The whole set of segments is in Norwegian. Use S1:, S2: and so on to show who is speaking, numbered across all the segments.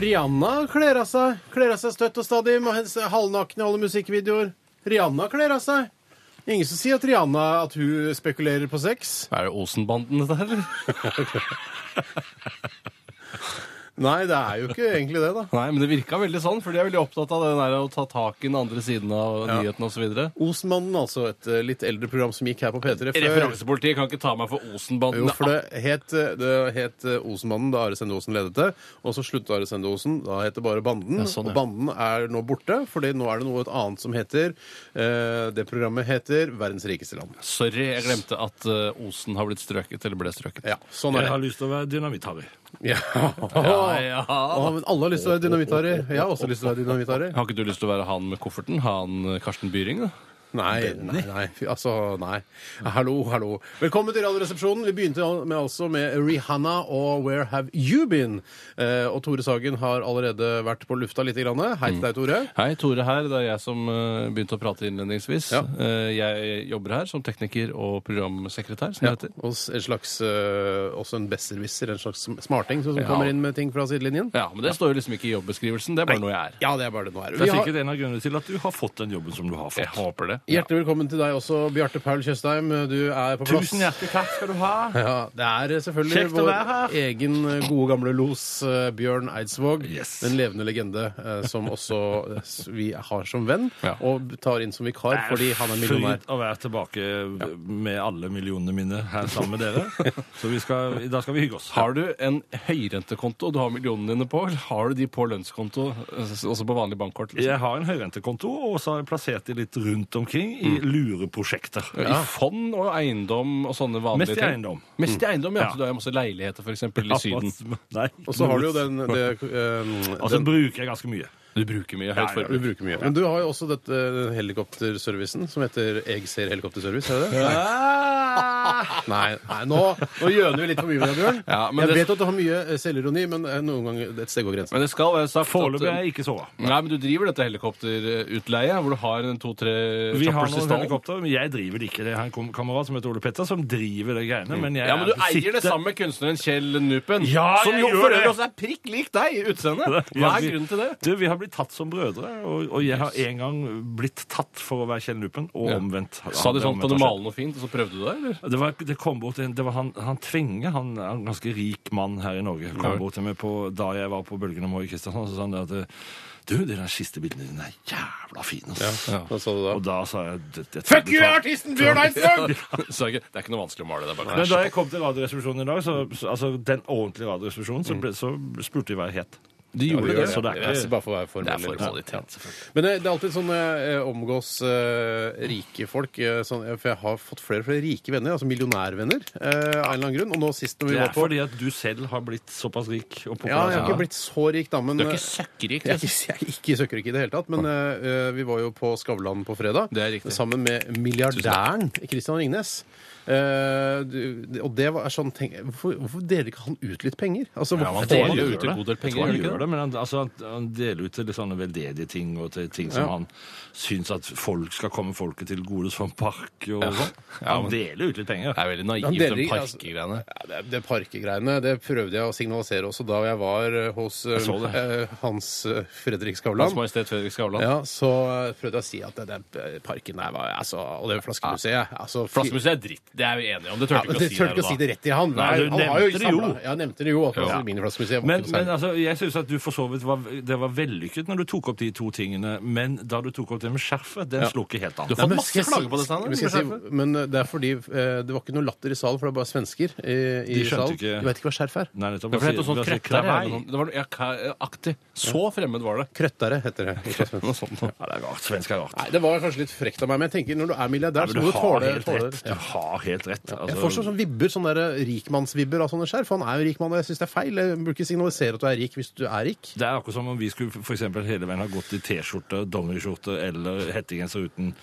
S1: Rihanna kler av seg. Kler av seg støtt og stadig med hennes halvnakne i alle musikkvideoer. Rihanna kler av seg. Ingen som sier at Rihanna at hun spekulerer på sex.
S2: Er det Osenbanden dette her, eller?
S1: Nei, det er jo ikke egentlig det, da.
S2: Nei, men det virka veldig sånn, for de er veldig opptatt av det der å ta tak i den andre siden av
S1: Ja.
S2: nyhetene osv.
S1: Osmannen, altså et eh, litt eldre program som gikk her på P3 før.
S2: Referansepolitiet kan ikke ta meg for Osenbanden.
S1: Jo, for det het, eh, det het eh, Osenmannen da Are Sende Osen ledet det, og så slutta Are Sende Osen. Da het det bare Banden.
S2: Ja, sånn, ja.
S1: Og Banden er nå borte, Fordi nå er det noe annet som heter eh, Det programmet heter Verdens rikeste land.
S2: Ah, Sorry, jeg glemte at eh, Osen har blitt strøket, eller ble strøket.
S1: Ja, sånn
S3: Jeg
S1: er
S3: har
S1: det.
S3: lyst til å være dynamitt-Harry.
S1: Ja.
S2: ja.
S1: Å, men alle har lyst til å være dynamitt-Harry. Jeg har også lyst til å være dynamitt-Harry.
S2: Har ikke du lyst til å være han med kofferten? Han eh, Karsten Byring, da?
S1: Nei, nei, nei. Fy, Altså, nei. Hallo, hallo. Velkommen til Radioresepsjonen. Vi begynte med, altså med Rihanna og Where Have You Been? Eh, og Tore Sagen har allerede vært på lufta lite grann. Hei
S2: Mm.
S1: til deg, Tore.
S2: Hei, Tore her. Det er jeg som eh, begynte å prate innledningsvis.
S1: Ja.
S2: Eh, jeg jobber her som tekniker og programsekretær, som
S1: Ja,
S2: det heter.
S1: og s- en slags, eh, også en besserwisser, en slags sm- smarting som, som
S2: Ja.
S1: kommer inn med ting fra sidelinjen.
S2: Ja, Men det står jo liksom ikke i jobbeskrivelsen. Det er bare noe jeg er.
S1: Ja, det er bare det nå er.
S3: Det
S1: Vi
S3: er
S1: har,
S3: sikkert en av grunnene til at du har fått den jobben som du har
S2: Jeg
S3: fått.
S2: håper det.
S1: hjertelig velkommen til deg også, Bjarte Paul Tjøstheim. Du er på plass.
S3: Tusen hjertelig takk skal du ha.
S1: Ja, Det er eh, selvfølgelig
S3: Kjekt å
S1: vår
S3: være her.
S1: egen gode gamle los eh, Bjørn Eidsvåg.
S3: Yes.
S1: Den levende legende eh, som også eh, s- vi har som venn,
S2: Ja.
S1: og tar inn som vikar fordi han er millionær.
S3: Fryd å være tilbake med alle millionene mine her sammen med dere. Så vi skal, da skal vi hygge oss.
S2: Har du en høyrentekonto du har millionene dine på, eller har du de på lønnskonto, eh, også på vanlig bankkort? Liksom?
S3: Jeg har en høyrentekonto, og så har jeg plassert de litt rundt omkring i
S2: Mm.
S3: lureprosjekter.
S2: I fond og eiendom og sånne vanlige
S3: Mest i eiendom. Mm.
S2: Mest i eiendom, ja.
S3: Ja.
S2: Så du har jo masse leiligheter, f.eks. i Syden.
S3: Nei.
S1: Og så har du jo den, det, eh,
S3: Og så
S1: den
S3: bruker jeg ganske mye.
S2: Du bruker mye høyt
S3: ja,
S1: du
S2: forbruk.
S1: bruker mye. Men du har jo også dette eh, helikopterservicen som heter Jeg ser helikopterservice, er det det? Nei, nei nå, nå gjøner vi litt for mye med deg, Bjørn.
S2: Ah! Ja, men
S1: jeg
S2: det-
S1: vet at du har mye eh, selvironi, men eh, noen ganger et sted går grensen.
S2: Men det skal være sagt
S3: Foreløpig er
S2: at eh,
S3: jeg ikke såra.
S2: Nei, men du driver dette helikopterutleie, hvor du har en to-tre choppers i
S3: Vi har noen
S2: stallen.
S3: helikopter, men jeg driver det ikke. Det er en kom- kamerat som heter Ole Petter, som driver det greiene. Men jeg
S2: Mm. Ja, men du
S3: er-
S2: eier det
S3: sitter-
S2: sammen med kunstneren Kjell Nupen,
S3: Ja,
S2: som
S3: jeg
S2: jo
S3: gjør
S2: for
S3: det.
S2: øvrig også er prikk lik deg i utseendet. Hva
S3: Ja,
S2: er
S3: vi-
S2: grunnen til det?
S3: Du, Vi har blitt tatt som brødre, og, og jeg har en gang blitt tatt for å være Kjell Nupen, og
S2: Ja.
S3: omvendt.
S2: Sa de
S3: Det
S2: sånn
S3: omvendt
S2: på det
S3: har skjedd.
S2: malende og fint, og så prøvde du det, eller?
S3: Det, var, det kom bort en, det var han, han Tvinge, han er en ganske rik mann her i Norge, kom
S2: Ja.
S3: bort til meg på, da jeg var på Bølgen og Moi i Kristiansand, så sa han det at du, de der siste bildene dine er jævla fine, ass.
S1: Hva sa du da?
S3: Og da sa jeg det, det,
S1: Fuck you,
S3: det-
S1: artisten Bjørn Eidsvåg!
S2: Så er det ikke- det er ikke noe vanskelig å male. det er bare
S3: Men da jeg kom til Radioresepsjonen i dag, så, så, altså den ordentlige Radioresepsjonen,
S1: Mm.
S3: så, ble, så spurte de hva jeg het.
S2: Du gjorde
S3: det,
S2: det.
S3: så det er ikke-
S1: Ja, bare for å være
S2: Det
S1: formell. liksom.
S2: er formalitet.
S1: Men det, det er alltid sånn når jeg eh, omgås eh, rike folk eh, sånn, eh, For jeg har fått flere og flere rike venner, altså millionærvenner, eh, av en eller annen grunn. Og nå sist når vi
S3: Det
S1: var
S3: er
S1: på
S3: fordi at du selv har blitt såpass rik og
S1: Ja,
S3: populær.
S1: jeg har ikke blitt så rik, da, men
S2: Du er
S1: eh,
S2: ikke søkkrik.
S1: jeg er ikke, jeg er ikke søkkrik i det hele tatt, men eh, vi var jo på Skavlan på fredag
S2: Det er riktig.
S1: sammen med milliardæren Christian Ringnes. Eh, du- og det var sånn tenk, hvorfor, hvorfor deler ikke han ut litt penger? Altså,
S2: Ja,
S1: hvorfor
S2: man
S1: får
S2: deler
S1: han-
S2: jo ut en god del
S3: Jeg
S2: penger,
S3: tror
S2: gjør
S3: han
S2: det ikke
S3: gjør
S2: det?
S3: det, men han, altså, han- han deler ut til litt sånne veldedige ting og til ting som
S1: Ja.
S3: han syns at folk skal komme folket til gode, som park og sånn.
S2: Ja,
S3: Han
S2: men-
S3: deler ut litt penger.
S2: Det er veldig
S1: Han
S2: naivt,
S1: deler
S2: de
S1: ikke, altså.
S2: parkegreiene.
S1: Ja, det, det parkegreiene det prøvde jeg å signalisere også da jeg var eh, hos eh,
S3: så det.
S1: eh, Hans eh, Fredrik
S2: Hans
S1: Skavlan.
S2: Majestet Fredrik Skavlan.
S1: Ja, så eh, prøvde jeg å si at den parken der var altså, Og det flaskemuseet altså, fy-
S2: Flaskemuseet er dritt. Det er vi enige om. Det
S1: Ja,
S2: tørte
S1: men
S2: ikke
S1: det
S2: å si
S1: tør ikke å si det rett til han.
S3: Nei,
S1: han
S3: du
S1: har
S3: nevnte det
S1: samlet-
S3: jo.
S1: Jeg nevnte det jo. at
S2: Ja.
S1: Miniflaskemuseet var
S3: Men,
S1: ikke noe
S3: men
S1: særlig.
S3: altså, jeg syns at du for så vidt var, det var vellykket når du tok opp de to tingene, men da du tok opp det med skjerfet, den slo ikke helt an.
S2: Du
S1: Nei,
S2: har fått
S1: men
S2: masse
S1: skal jeg si-
S2: klager på det, Steinar.
S1: men skal jeg si- Men eh, det er fordi eh, det var ikke noe latter i salen, for det er bare svensker i, i
S3: De skjønte
S1: salen.
S3: ikke-
S1: De vet ikke hva skjerf er.
S3: Nei, nettopp.
S2: Det var noe sånt
S3: Hva sier- hva sier-
S2: sånn krøtter
S3: kravei?
S2: eller noe sånt. Det var noe- ja, ka- aktig. Så fremmed var det.
S1: Krøttere heter det. på svensk.
S2: Noe sånt.
S3: Ja, det er rart. Svensk er rart.
S1: Nei, det var kanskje litt frekt av meg, men jeg tenker når du er milliardær,
S3: Men
S1: så
S3: du
S1: må du
S3: har
S1: tåle,
S3: helt
S1: tåle
S3: rett.
S1: ja.
S3: Du har helt rett.
S1: Jeg
S3: Altså,
S1: får sånn sånn vibber, sånne der rikmannsvibber av sånne skjerf. Han er jo rik mann, og jeg syns det er feil. Jeg burde ikke signalisere at du er rik hvis du er særik.
S3: Det er akkurat som om vi skulle for eksempel hele veien ha gått i T-skjorte, dongeriskjorte eller hettegenser uten,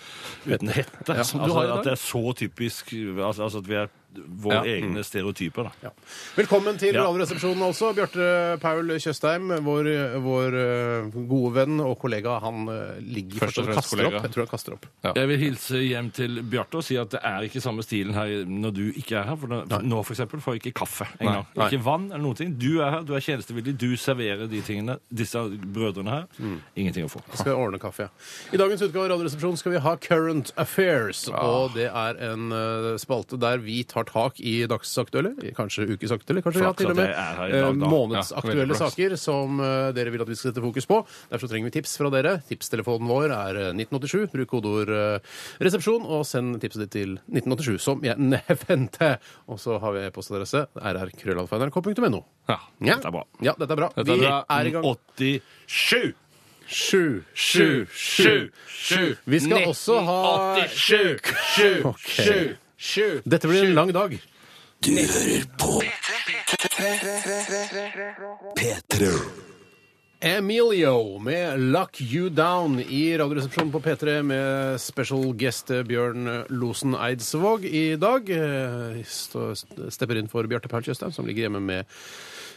S3: uten hette.
S1: Ja, som du
S3: altså,
S1: har i dag.
S3: at det er så typisk altså, altså at vi er våre
S2: Ja.
S3: egne stereotyper. Da.
S1: Ja. Velkommen til
S3: Ja.
S1: Radioresepsjonen også. Bjarte Paul Tjøstheim, vår, vår eh, gode venn og kollega, han eh, ligger
S2: Først og
S1: fortsatt og
S2: fremst
S1: kaster
S2: kollega.
S1: opp. Jeg tror han kaster opp.
S2: Ja.
S3: Jeg vil hilse hjem til Bjarte og si at det er ikke samme stilen her når du ikke er her. For nå- nå for eksempel får jeg ikke kaffe engang.
S2: Nei.
S3: Ikke vann eller noen ting. Du er her, du er tjenestevillig, du serverer de tingene, disse brødrene her. Ingenting å få.
S1: Jeg skal ordne kaffe, ja. I dagens utgave av Radioresepsjonen skal vi ha Current Affairs.
S3: Ah.
S1: Og det er en eh, spalte der vi tar tak i dagsaktuelle, kanskje ukesaktuelle, kanskje ja,
S3: Flaks
S1: til
S3: at
S1: og med
S3: jeg er her i dag,
S1: eh,
S3: da.
S2: Ja,
S1: månedsaktuelle
S2: veldig flaks.
S1: saker som eh, dere vil at vi skal sette fokus på. Derfor så trenger vi tips fra dere. Tipstelefonen vår er eh, 1987. Bruk kodeord eh, 'resepsjon' og send tipset ditt til 1987, som jeg nevnte. Og så har vi e-postadresse rrkrøllalfa.nrk.no.
S2: Ja.
S1: Ja.
S3: Dette er bra.
S1: Ja, dette er bra.
S2: Dette er
S1: vi
S2: bra.
S1: er i gang.
S3: 87!
S1: Sju,
S3: Sju, sju, sju.
S1: Vi skal også ha
S3: 87! Sju!
S1: sju, Dette blir en lang dag.
S4: Du hører på P3.
S1: Emilio med 'Lock You Down' i Radioresepsjonen på P3 med special guest Bjørn Losen Eidsvåg i dag. Eh, stå- Stepper inn for Bjarte Paul Tjøstheim, som ligger hjemme med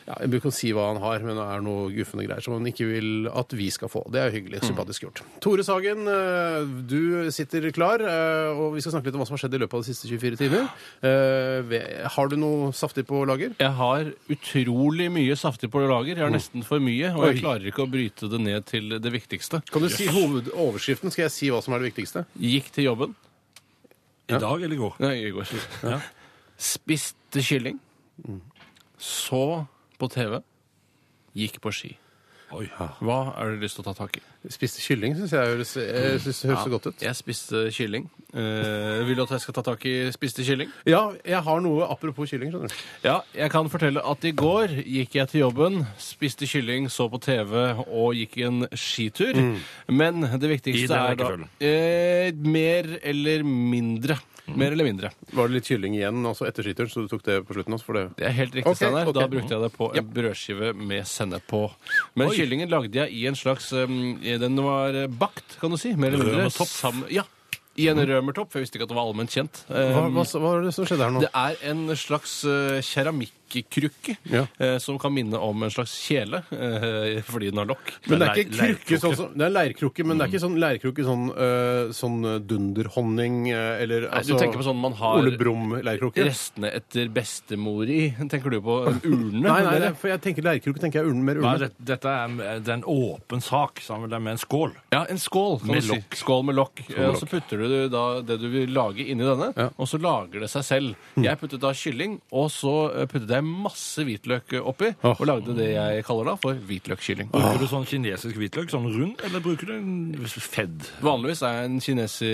S1: ja, Jeg kan si hva han har, men det er noe guffende greier som han ikke vil at vi skal få. Det er hyggelig. Sympatisk gjort. Tore Sagen, eh, du sitter klar, eh, og vi skal snakke litt om hva som har skjedd i løpet av de siste 24 timer. Eh, ve- Har du noe saftig på lager?
S2: Jeg har utrolig mye saftig på lager. Jeg har nesten for mye, og
S1: Oi.
S2: jeg klarer ikke å bryte det ned til det viktigste.
S1: Kan du si hovedoverskriften? Skal jeg si hva som er det viktigste?
S2: Gikk til jobben.
S3: I dag eller i går?
S2: Nei, i går. Spiste kylling. Så på TV. Gikk på ski.
S3: Oi.
S2: Hva har du lyst til å ta tak i?
S1: Spiste kylling syns jeg høres, jeg synes det høres så godt ut.
S2: Jeg spiste kylling. Eh, vil du at jeg skal ta tak i spiste kylling?
S1: Ja, jeg har noe apropos kylling. skjønner du.
S2: Ja, jeg kan fortelle at i går gikk jeg til jobben, spiste kylling, så på TV og gikk en skitur. Men det
S3: I
S2: viktigste er
S3: den
S2: da
S3: rekkefølgen.
S2: eh, mer eller mindre. Mer eller mindre.
S1: Var det litt kylling igjen også etter skituren, så du tok det på slutten også? For det
S2: Det er helt riktig,
S1: Ok,
S2: Steinar.
S1: ok.
S2: Da brukte jeg det på en brødskive med sennep på. Men kyllingen lagde jeg i en slags um, Den var eh, bakt, kan du si. Mer eller mindre.
S3: Rømertopp.
S2: Sam- Ja. I en rømertopp. for Jeg visste ikke at det var allment kjent.
S1: Mm. hva,
S2: Um,
S1: hva, hva er det som skjedde her nå?
S2: Det er en slags eh, keramikkrukke
S1: Ja.
S2: eh, som kan minne om en slags kjele, eh, fordi den har lokk.
S1: Men det er ikke
S3: Leir-
S1: krukke sånn som Det er leirkrukke, men det er ikke sånn leirkrukke sånn, øh, sånn dunderhonning øh, eller
S2: Nei, du tenker på sånn man har
S1: Ole Brumm-leirkrukke?
S2: restene etter bestemor i, tenker du på en urne?
S1: Nei, nei, det, for jeg tenker leirkrukke tenker jeg urne mer
S3: Nei,
S1: urne.
S3: det, dette er, det er en åpen sak sammen med- med en skål.
S2: Ja, en skål, kan
S3: Med
S2: du si.
S3: lokk.
S2: Skål med lokk. Eh, Og så putter du da det du vil lage inni denne, og så lager det seg selv. Jeg puttet da kylling, og så eh, puttet jeg masse hvitløk oppi, og lagde det jeg kaller da for hvitløkkylling.
S3: Bruker du sånn kinesisk hvitløk, sånn rund, eller bruker du en fedd?
S2: Vanligvis er jeg en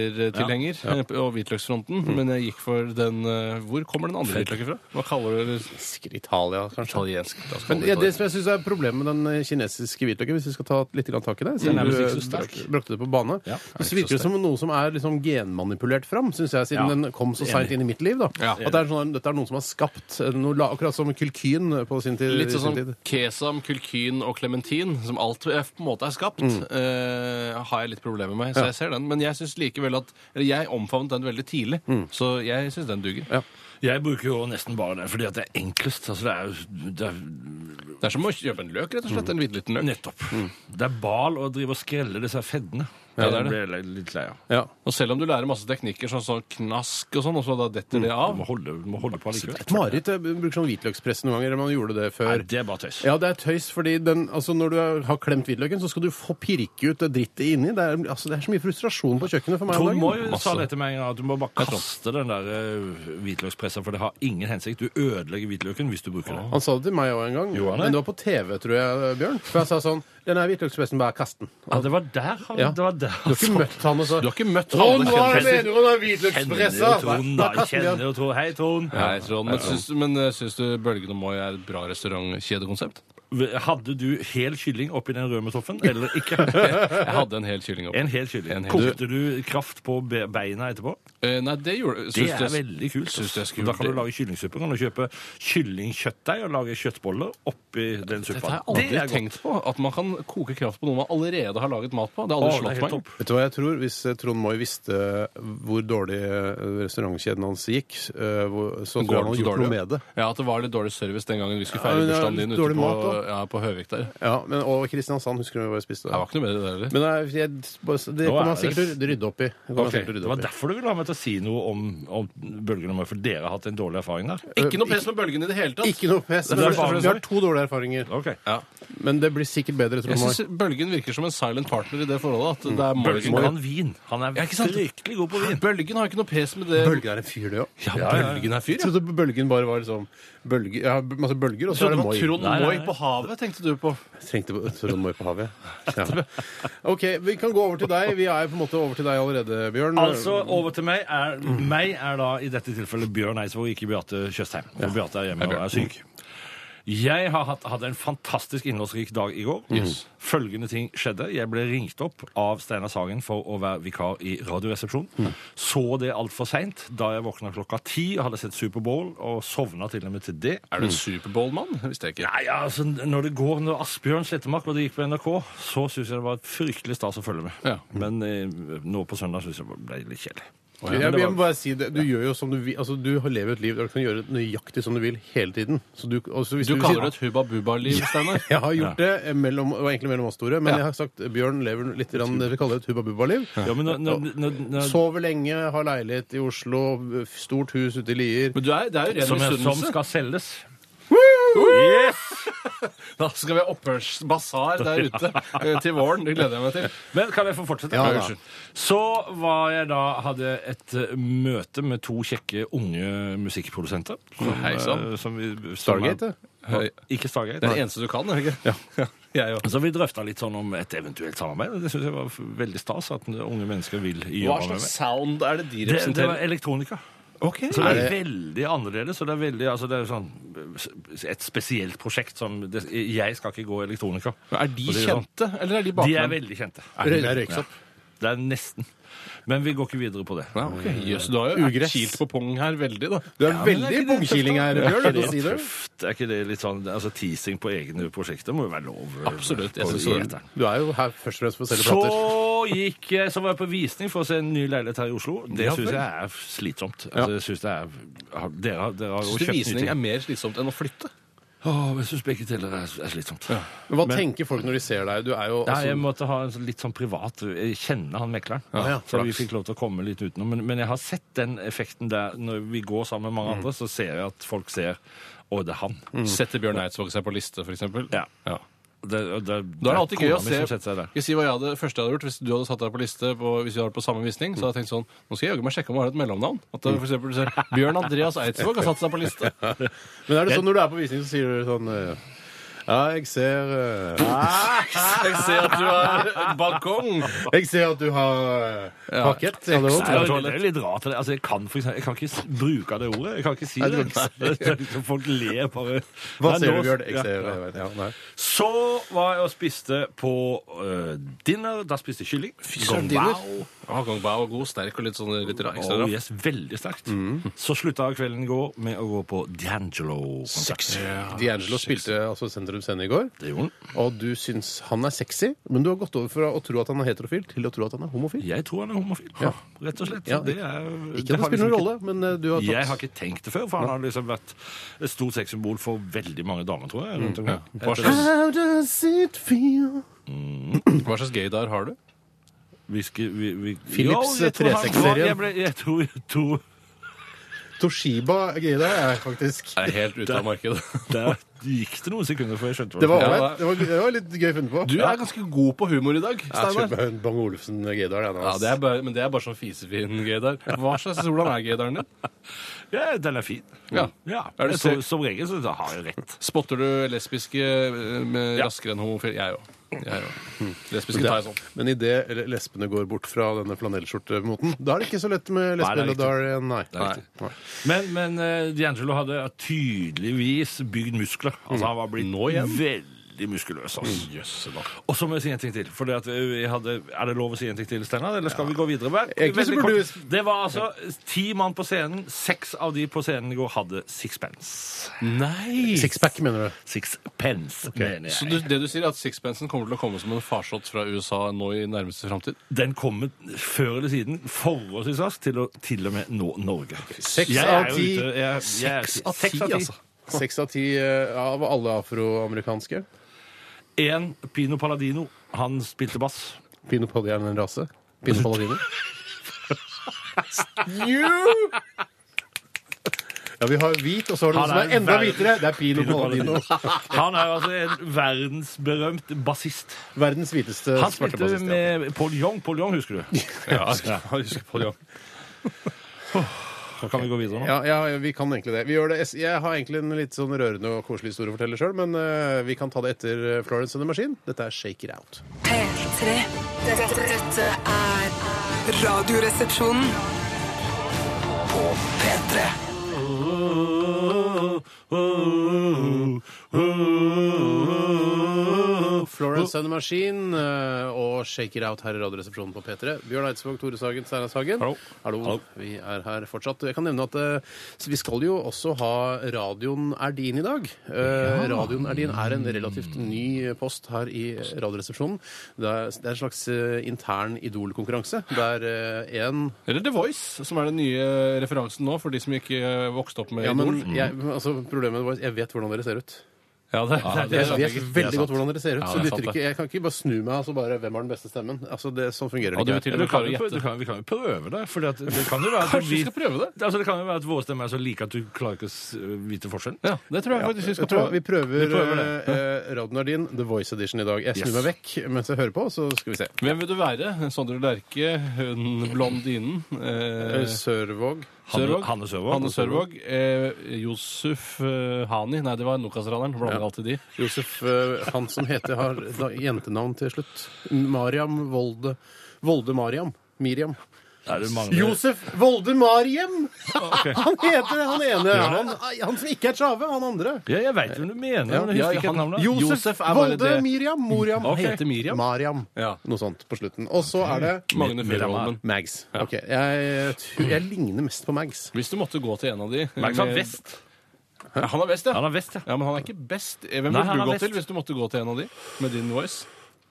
S2: kinesertilhenger ja, Mm. og hvitløksfronten, men jeg gikk for den eh, Hvor kommer den andre hvitløken fra? Hva kaller du det?
S1: Fisker Italia, kanskje.
S2: Italiensk. La oss kalle
S1: Men ja, Det som jeg synes er problemet med den eh, kinesiske hvitløken, hvis vi skal ta litt grann tak i det
S2: Mm.
S1: siden
S3: Den er
S1: du
S3: vel ikke så
S1: eh,
S3: sterk.
S1: brak- brakte det på bane,
S3: Ja,
S1: så,
S3: er ikke
S1: virker
S3: så
S1: det som noe som er liksom genmanipulert fram, synes jeg, siden
S3: Ja.
S1: den kom så seint inn i mitt liv. da.
S2: Ja.
S1: At det er sånn, dette er noen som har skapt eh, noe, la- akkurat som Kylkyn på sin tid.
S2: Litt sånn
S1: sin
S2: som
S1: tid.
S2: kesam, kulkyn og klementin, som alt eh, på en måte er skapt,
S3: Mm.
S2: eh, har jeg litt problemer med. Så jeg ser den. Men jeg synes likevel at Eller jeg omfavnet den veldig tidlig,
S3: Mm.
S2: så jeg syns den duger.
S1: Ja.
S3: Jeg bruker jo nesten bare den fordi at det er enklest. Altså det er, jo- det er
S2: Det er som å kjøpe en løk, rett og
S3: Mm.
S2: slett. En hvitliten løk.
S3: nettopp. Det er bal å drive og skrelle disse feddene.
S2: Mm. Ja, det er det.
S3: blir jeg litt lei av.
S1: Ja.
S2: Og selv om du lærer masse teknikker, sånn som knask og sånn, og så da detter det
S3: Mm. Du
S2: av
S3: må holde, du må holde på likevel.
S1: Et mareritt. Jeg bruker sånn hvitløkspress noen ganger. Man gjorde det
S3: Nei,
S1: før.
S3: det er bare tøys.
S1: Ja, det er tøys, fordi den, altså når du er- har klemt hvitløken, så skal du få pirke ut det drittet inni. Det er, altså, det er så mye frustrasjon på kjøkkenet for meg om
S3: Trond
S1: dagen.
S3: Moy sa
S2: Masse.
S3: dette med en gang, at du må bare kaste den der eh, hvitløkspressa, for det har ingen hensikt. Du ødelegger hvitløken hvis du bruker den.
S2: Ah.
S1: Han sa det til meg òg en gang,
S3: Gjorde han det?
S1: men det var på TV, tror jeg, Bjørn. For jeg sa sånn Den er hvitløkspressen, bare kast den.
S3: Ja, det var der han
S1: Ja.
S3: det var der
S1: Du har
S3: han
S1: ikke møtt han og så
S2: Du har ikke møtt
S1: Trond,
S2: alle
S1: hva er det mener
S2: kjendisene.
S1: du med
S3: Kjenner
S1: hvitløkspressa?
S3: jo Trond, da. Kjenner jo Trond. Hei, Trond.
S2: Nei, Trond, men syns, men eh, syns du Bølgen og Moi er et bra restaurantkjedekonsept?
S3: Hadde du hel kylling oppi den røde toffen, eller ikke?
S2: Jeg hadde en hel kylling opp.
S3: En hel kylling.
S2: En hel-
S3: Kokte du kraft på be- beina etterpå?
S2: Eh, Nei, det gjorde
S3: Det
S2: syns
S3: er
S2: jeg-
S3: veldig kult.
S2: Syns jeg skulle
S3: da kan
S2: gjort
S3: du lage kyllingsuppe. Kan du kjøpe kyllingkjøttdeig og lage kjøttboller oppi den
S2: Dette
S3: suppa?
S2: har jeg aldri
S3: Det er godt.
S2: tenkt på. At man kan koke kraft på noe man allerede har laget mat på. Det har
S3: Å,
S2: aldri
S3: det er
S2: slått
S3: helt
S2: meg.
S3: topp.
S1: Vet du hva jeg tror? Hvis eh, Trond Moi visste hvor dårlig eh, restaurantkjeden hans gikk, eh, hvor- så tror jeg han
S2: det
S1: hadde
S2: så
S1: gjort noe
S2: dårlig?
S1: med det.
S2: Ja, at det var litt dårlig service den gangen vi skulle
S1: Ja,
S2: feire
S1: men det er
S2: bursdagen din
S1: litt
S2: ute
S1: dårlig
S2: på,
S1: mat, da.
S2: ja, på Høvik der. Det
S1: Ja, men, og Kristiansand, husker du hva jeg spiste? da?
S2: var ikke noe bedre der heller.
S1: Men nei, jeg, det
S3: Nå
S1: kan
S3: er
S1: man
S3: det-
S1: sikkert rydde opp i. Det kan man
S3: Ok,
S1: sikkert
S3: Det
S1: rydde
S3: var
S1: opp i.
S3: derfor du ville ha meg til å si noe om, om bølgen om for dere har hatt en dårlig erfaring der?
S2: Ikke noe press med bølgene i det hele tatt.
S1: Ikke noe pes.
S2: Det
S1: men
S2: er
S1: Vi har-
S2: bare-
S1: vi har to dårlige erfaringer.
S3: Ok.
S2: Ja.
S1: Men det blir sikkert bedre,
S2: Jeg
S1: Trond Moi.
S2: syns bølgen virker som en silent partner i det forholdet. At det er
S3: Bølgen
S2: Moi-
S3: kan vin. Han er
S2: Ja, ikke sant?
S3: fryktelig god på vin.
S2: Bølgen har ikke noe pes med det.
S1: Bølgen er en fyr, det òg.
S2: Ja, bølgen er fyr, ja.
S1: Trodde bølgen bare var liksom bølger, ja, masse bølger, og så
S2: Så
S1: er
S2: det
S1: det
S2: var
S1: Moi.
S2: Trond
S3: Nei, nei,
S2: Moi
S3: nei.
S2: på havet, tenkte du på.
S1: Trengte Trond Moi på havet. Ja. OK, vi kan gå over til deg. Vi er jo på en måte over til deg allerede, Bjørn. eh,
S3: Altså, over til meg. Er, meg er da i dette tilfellet Bjørn Eidsvåg, ikke Beate Tjøstheim. For Beate er hjemme og er syk. Jeg har hatt, hadde en fantastisk innholdsrik dag i går. Følgende ting skjedde. Jeg ble ringt opp av Steinar Sagen for å være vikar i Radioresepsjonen. Så det altfor seint da jeg våkna klokka ti og hadde sett Superbowl og sovna til og med til det.
S2: Er du en Superbowl-mann? Visste jeg ikke.
S3: Nei, altså, når det går når Asbjørn Slettemark og det gikk på NRK, så syns jeg det var fryktelig stas å følge med.
S2: Ja.
S3: Men eh, nå på søndag syns jeg det ble litt kjedelig.
S1: jeg, jeg, må bare si det. Du gjør jo som du vil. Altså, du har lever et liv der du kan gjøre nøyaktig som du vil hele tiden. Så du, altså, hvis
S2: Du
S1: vil si-
S2: kaller det et hubba bubba-liv, Steinar.
S1: Jeg har gjort det eh, mellom, det var egentlig mellom oss store, men jeg har sagt Bjørn lever litt grann, det vi kaller et hubba-bubba-liv.
S3: Ja, men når, når, når, når,
S1: Sover lenge, har leilighet i Oslo, stort hus ute i Lier.
S2: Men du er, det er jo ren
S3: som, som
S2: misunnelse.
S3: skal selges.
S2: Da skal vi ha opphørsbasar der ute eh, til våren. Det gleder jeg meg til.
S3: Men kan jeg få fortsette?
S1: Ja, da.
S3: Unnskyld. Så var jeg da, hadde et eh, møte med to kjekke unge musikkprodusenter. Som,
S2: Hei, sånn. sann.
S3: eh, som vi, som
S1: Stargate,
S3: er-
S1: det.
S2: Høy.
S3: Ikke Stargate.
S2: Det er
S3: nei.
S2: det eneste du kan, er det ikke? Ja. Jeg òg.
S3: Så vi drøfta litt sånn om et eventuelt samarbeid. og Det syns jeg var f- veldig stas at unge mennesker vil
S2: Hva
S3: jobbe med
S2: slags
S3: meg.
S2: sound er det de
S3: Det, det var
S2: representerer?
S3: elektronika.
S2: Ok.
S3: Så det er veldig annerledes, og det er veldig altså det er sånn, et spesielt prosjekt som det, Jeg skal ikke gå elektronika.
S2: Er de
S3: Og det er jo sånn.
S2: kjente, eller er de
S3: De er
S2: bakmenn?
S3: veldig kjente.
S1: Røy- det er røyksopp.
S3: Det er nesten. Men vi går ikke videre på det.
S2: Ja, ok. Jøss, du har jo vært
S1: Ugress.
S2: kilt på pong her veldig, da.
S1: Du er veldig bongkiling her, Bjørn. er det å si det?
S3: Tøft. Er ikke det litt sånn altså teasing på egne prosjekter? Må jo være lov. eh,
S2: Absolutt, jeg
S3: På
S2: synes det.
S3: eteren.
S1: Du er jo her først og fremst for å selge
S3: Så
S1: plater.
S3: gikk jeg, så var jeg på visning for å se en ny leilighet her i Oslo. Det
S2: Ja,
S3: syns
S2: vel.
S3: jeg er slitsomt. Altså, jeg synes det er, har- dere, har- dere har jo
S2: Syns du
S3: kjøpt nye
S2: visning
S3: ting.
S2: er mer slitsomt enn å flytte?
S3: Åh, jeg syns begge deler er, er slitsomt.
S1: Men hva tenker folk når de ser deg? Du er jo
S3: Nei, jeg
S1: altså,
S3: måtte ha en sånn litt sånn privat Jeg kjenner han mekleren.
S1: Ja, ja,
S3: så vi
S1: flaks.
S3: fikk lov til å komme litt utenom. Men, men jeg har sett den effekten der når vi går sammen med mange andre, så ser jeg at folk ser Å, det er han.
S2: Setter Bjørn Eidsvåg seg på liste, f.eks.?
S3: Mm. Ja.
S2: ja.
S3: Det, det, det,
S2: Da er det alltid gøy å
S3: kona mi
S2: se
S3: som setter seg der.
S2: Skal jeg si hva jeg hadde, første jeg hadde gjort Hvis du hadde satt deg på liste på, Hvis vi hadde vært på samme visning Så hadde jeg tenkt sånn Nå skal jeg jaggu meg sjekke om jeg har et mellomnavn At det for eksempel ser, Bjørn Andreas Eidsvåg har satt seg på liste
S1: Men er det sånn når du er på visning, så sier du sånn eh, Ja, jeg ser eh,
S2: Jeg ser at du har balkong
S1: Jeg ser at du har eh, pakket. Ja, det
S3: Nei,
S1: var
S3: det er- det er litt rart. det. Altså, jeg, kan for eksempel, jeg kan ikke s- bruke det ordet. Jeg kan ikke si det. det er liksom, folk ler bare.
S1: Hva
S3: Nei,
S1: ser
S3: nå-
S1: du, Bjørn? Jeg
S3: Ja.
S1: ser jeg vet, ja, nei.
S3: Så var jeg og spiste på øh, dinner. Da spiste jeg kylling. Fy
S2: søren, dinner. Ja, Gongbao er god, sterk og litt sånn litt ra- ekstra
S3: Oh,
S2: raff.
S3: yes, veldig sterkt.
S1: Mm.
S3: Så slutta kvelden i går med å gå på D'Angelo. Sexy.
S1: D'Angelo spilte altså Sentrum Scene i går.
S3: Det gjorde han.
S1: Og du syns han er sexy, men du har gått over fra å tro at han er heterofil, til å tro at han er homofil.
S3: Jeg tror han er homofil.
S1: Ja.
S3: Rett og slett.
S1: Ja.
S3: Det er,
S1: Ikke at det spiller
S3: har liksom
S1: noen rolle, men eh, du har tatt
S3: Jeg har ikke tenkt det før, for han har liksom vært et stort sexsymbol for veldig mange damer, tror jeg.
S1: Mm.
S3: Rundt omkring.
S2: Hva
S3: Etter-
S2: slags,
S1: How does it feel?
S2: hva slags gaydar har du?
S3: Vi skal, vi, vi...
S1: Philips
S3: Jo, jeg tror han-
S1: 360-serien.
S3: Jeg, ble- jeg tror jeg tror-
S1: Toshiba greier det, er faktisk
S2: Jeg er helt ute av markedet
S3: Der gikk det noen sekunder før jeg skjønte
S1: Det var,
S3: var.
S1: ålreit. det var, det var litt gøy funnet på.
S2: Du er ganske god på humor i dag, Steinar
S1: Kjøp en Bang Olufsen eh, Gaydar.
S2: ja, det er bare, men det er bare sånn fisefin gaydar Hva slags, hvordan er gaydaren din?
S3: Ja, den er fin.
S2: Ja.
S3: ja.
S2: Er det
S3: så,
S2: så-
S3: som regel så har jeg rett.
S2: Spotter du lesbiske eh, med
S3: Ja.
S2: raskere enn homofil? Jeg òg. Jeg òg. Lesbiske tar jeg sånn.
S1: Men idet lesbene går bort fra denne flanellskjortemoten, da er det ikke så lett med
S3: Nei, det er
S1: lesbene. Da er det nei.
S2: riktig.
S1: Nei.
S3: Men, men eh, D'Angelo hadde tydeligvis bygd muskler. Altså, han var blitt
S2: Nå igjen?
S3: veldig veldig muskuløs. Altså. Og så må jeg si en ting til. For det at jeg hadde, er det lov å si en ting til, Steinar? Eller skal vi gå videre? Bare-
S1: Egentlig så
S3: veldig
S1: burde
S3: kort. Det var altså ti mann på scenen. Seks av de på scenen i går hadde sixpence.
S2: Nei!
S1: Sixpack, mener du?
S3: Sixpence, mener
S2: Så
S3: jeg.
S2: du, det du sier er at sixpensen kommer til å komme som en farsott fra USA nå i nærmeste framtid?
S3: Den kommer før eller siden forholdsvis raskt til å til og med nå Norge.
S1: Seks
S3: Jeg
S1: av
S3: er jo
S1: ti.
S3: ute- jeg- jeg-
S1: Seks av
S3: seks
S1: ti, altså. Seks av ti eh, av alle afroamerikanske.
S3: En Pino Palladino, han spilte bass.
S1: Pino Poddy er en rase. Pino Palladino. You! Ja, vi har hvit, og så har du
S3: Han
S1: noe som
S3: er
S1: er enda
S3: verden.
S1: hvitere. Det er Pino Palladino.
S3: Han er altså en verdensberømt bassist.
S1: Verdens hviteste
S3: Han
S1: svarte
S3: spilte
S1: bassist. ja.
S3: med Paul Young. Paul Young, husker du? Ja, jeg husker Paul Young. Så kan vi gå videre nå.
S1: Ja, ja, vi kan egentlig det. Vi gjør det. Jeg har egentlig en litt sånn rørende og koselig historie å fortelle sjøl, men eh, vi kan ta det etter Florence and the Machine. Dette er Shake It Out.
S5: P3. Dette, dette er Radioresepsjonen.
S1: Florence and the Machine eh, og Shake It Out her i Radioresepsjonen på P3. Bjørn Eidsvåg, Tore Sagen, Steinar Sagen.
S3: Hallo. Hallo.
S1: Vi er her fortsatt. Jeg kan nevne at eh, vi skal jo også ha Radioen er din i dag. Eh, Radioen er din er en relativt ny post her i Radioresepsjonen. Det er, det er en slags eh, intern Idol-konkurranse der eh, én
S2: Eller The Voice, som er den nye referansen nå for de som ikke eh, vokste opp med
S1: ja,
S2: Idol.
S1: men jeg, altså, problemet var jeg vet hvordan dere ser ut.
S2: Ja, det, det er
S1: Jeg
S2: sant,
S1: vet
S2: Egil. Det er
S1: veldig
S2: sant.
S1: godt hvordan dere ser ut.
S2: Ja,
S1: så
S2: det er
S1: nytter
S2: sant,
S1: ikke, jeg kan ikke bare snu meg og så bare Hvem har den beste stemmen? Altså, det, Sånn fungerer
S2: Ja, du
S1: det
S2: vil
S1: ikke.
S2: til og
S3: Du
S2: med
S3: kan
S2: klare å
S3: jo, prø-
S2: gjette.
S3: du kan, vi kan jo prøve det. For det, det kan jo være at
S2: Kanskje vi
S3: vi
S2: skal prøve det?
S3: Altså, det kan jo være at våre stemmer er så like at du klarer ikke å s- vite forskjellen.
S2: Ja, det tror jeg faktisk vi skal
S1: Jeg tror
S2: prøve.
S1: vi prøver,
S3: Vi prøver det.
S1: eh, Radio Nardin, The Voice Edition i dag. Jeg snur
S3: Yes.
S1: meg vekk mens jeg hører på, så skal vi se.
S2: Hvem vil du være? Sondre Lerche, hun blondinen
S1: Eh,
S2: eh,
S1: Sørvåg.
S3: Hanne,
S2: Sørvåg?
S3: Hanne Sørvåg.
S2: Hanne Sørvåg, eh, Josef eh, Hani Nei, det var Nokas-raneren. Blander alltid de.
S1: Josef, eh, han som heter, har da, jentenavn til slutt. Mariam Volde. Volde Mariam. Miriam.
S3: Nei, du mangler-
S1: Josef Volde Mariam! Han heter han ene. Han, eh, han som ikke er Tjave, han andre.
S3: Ja, jeg veit hvem du mener, men jeg
S2: ja,
S3: husker ikke
S2: han-
S3: helt navnet.
S2: Jo.
S1: Josef,
S2: Josef er bare
S1: Volde
S2: det.
S1: Miriam. Moriam.
S2: Han heter Miriam?
S1: Mariam.
S2: Ja.
S1: Noe sånt på slutten. Og så
S2: Mm.
S1: er det
S2: Magne Fjellholmen.
S1: Mags. Ok, jeg, tror- jeg ligner mest på Mags.
S2: Hvis du måtte gå til en av de
S3: Nei, ikke sant,
S2: med-
S3: vest.
S2: Ja, Han er best, ja.
S3: Han har vest, ja.
S2: Ja, Men han er ikke best. Eh, Hvem
S3: Nei,
S2: burde
S3: han
S2: du
S3: er
S2: gå
S3: best.
S2: til hvis du måtte gå til en av de med din voice?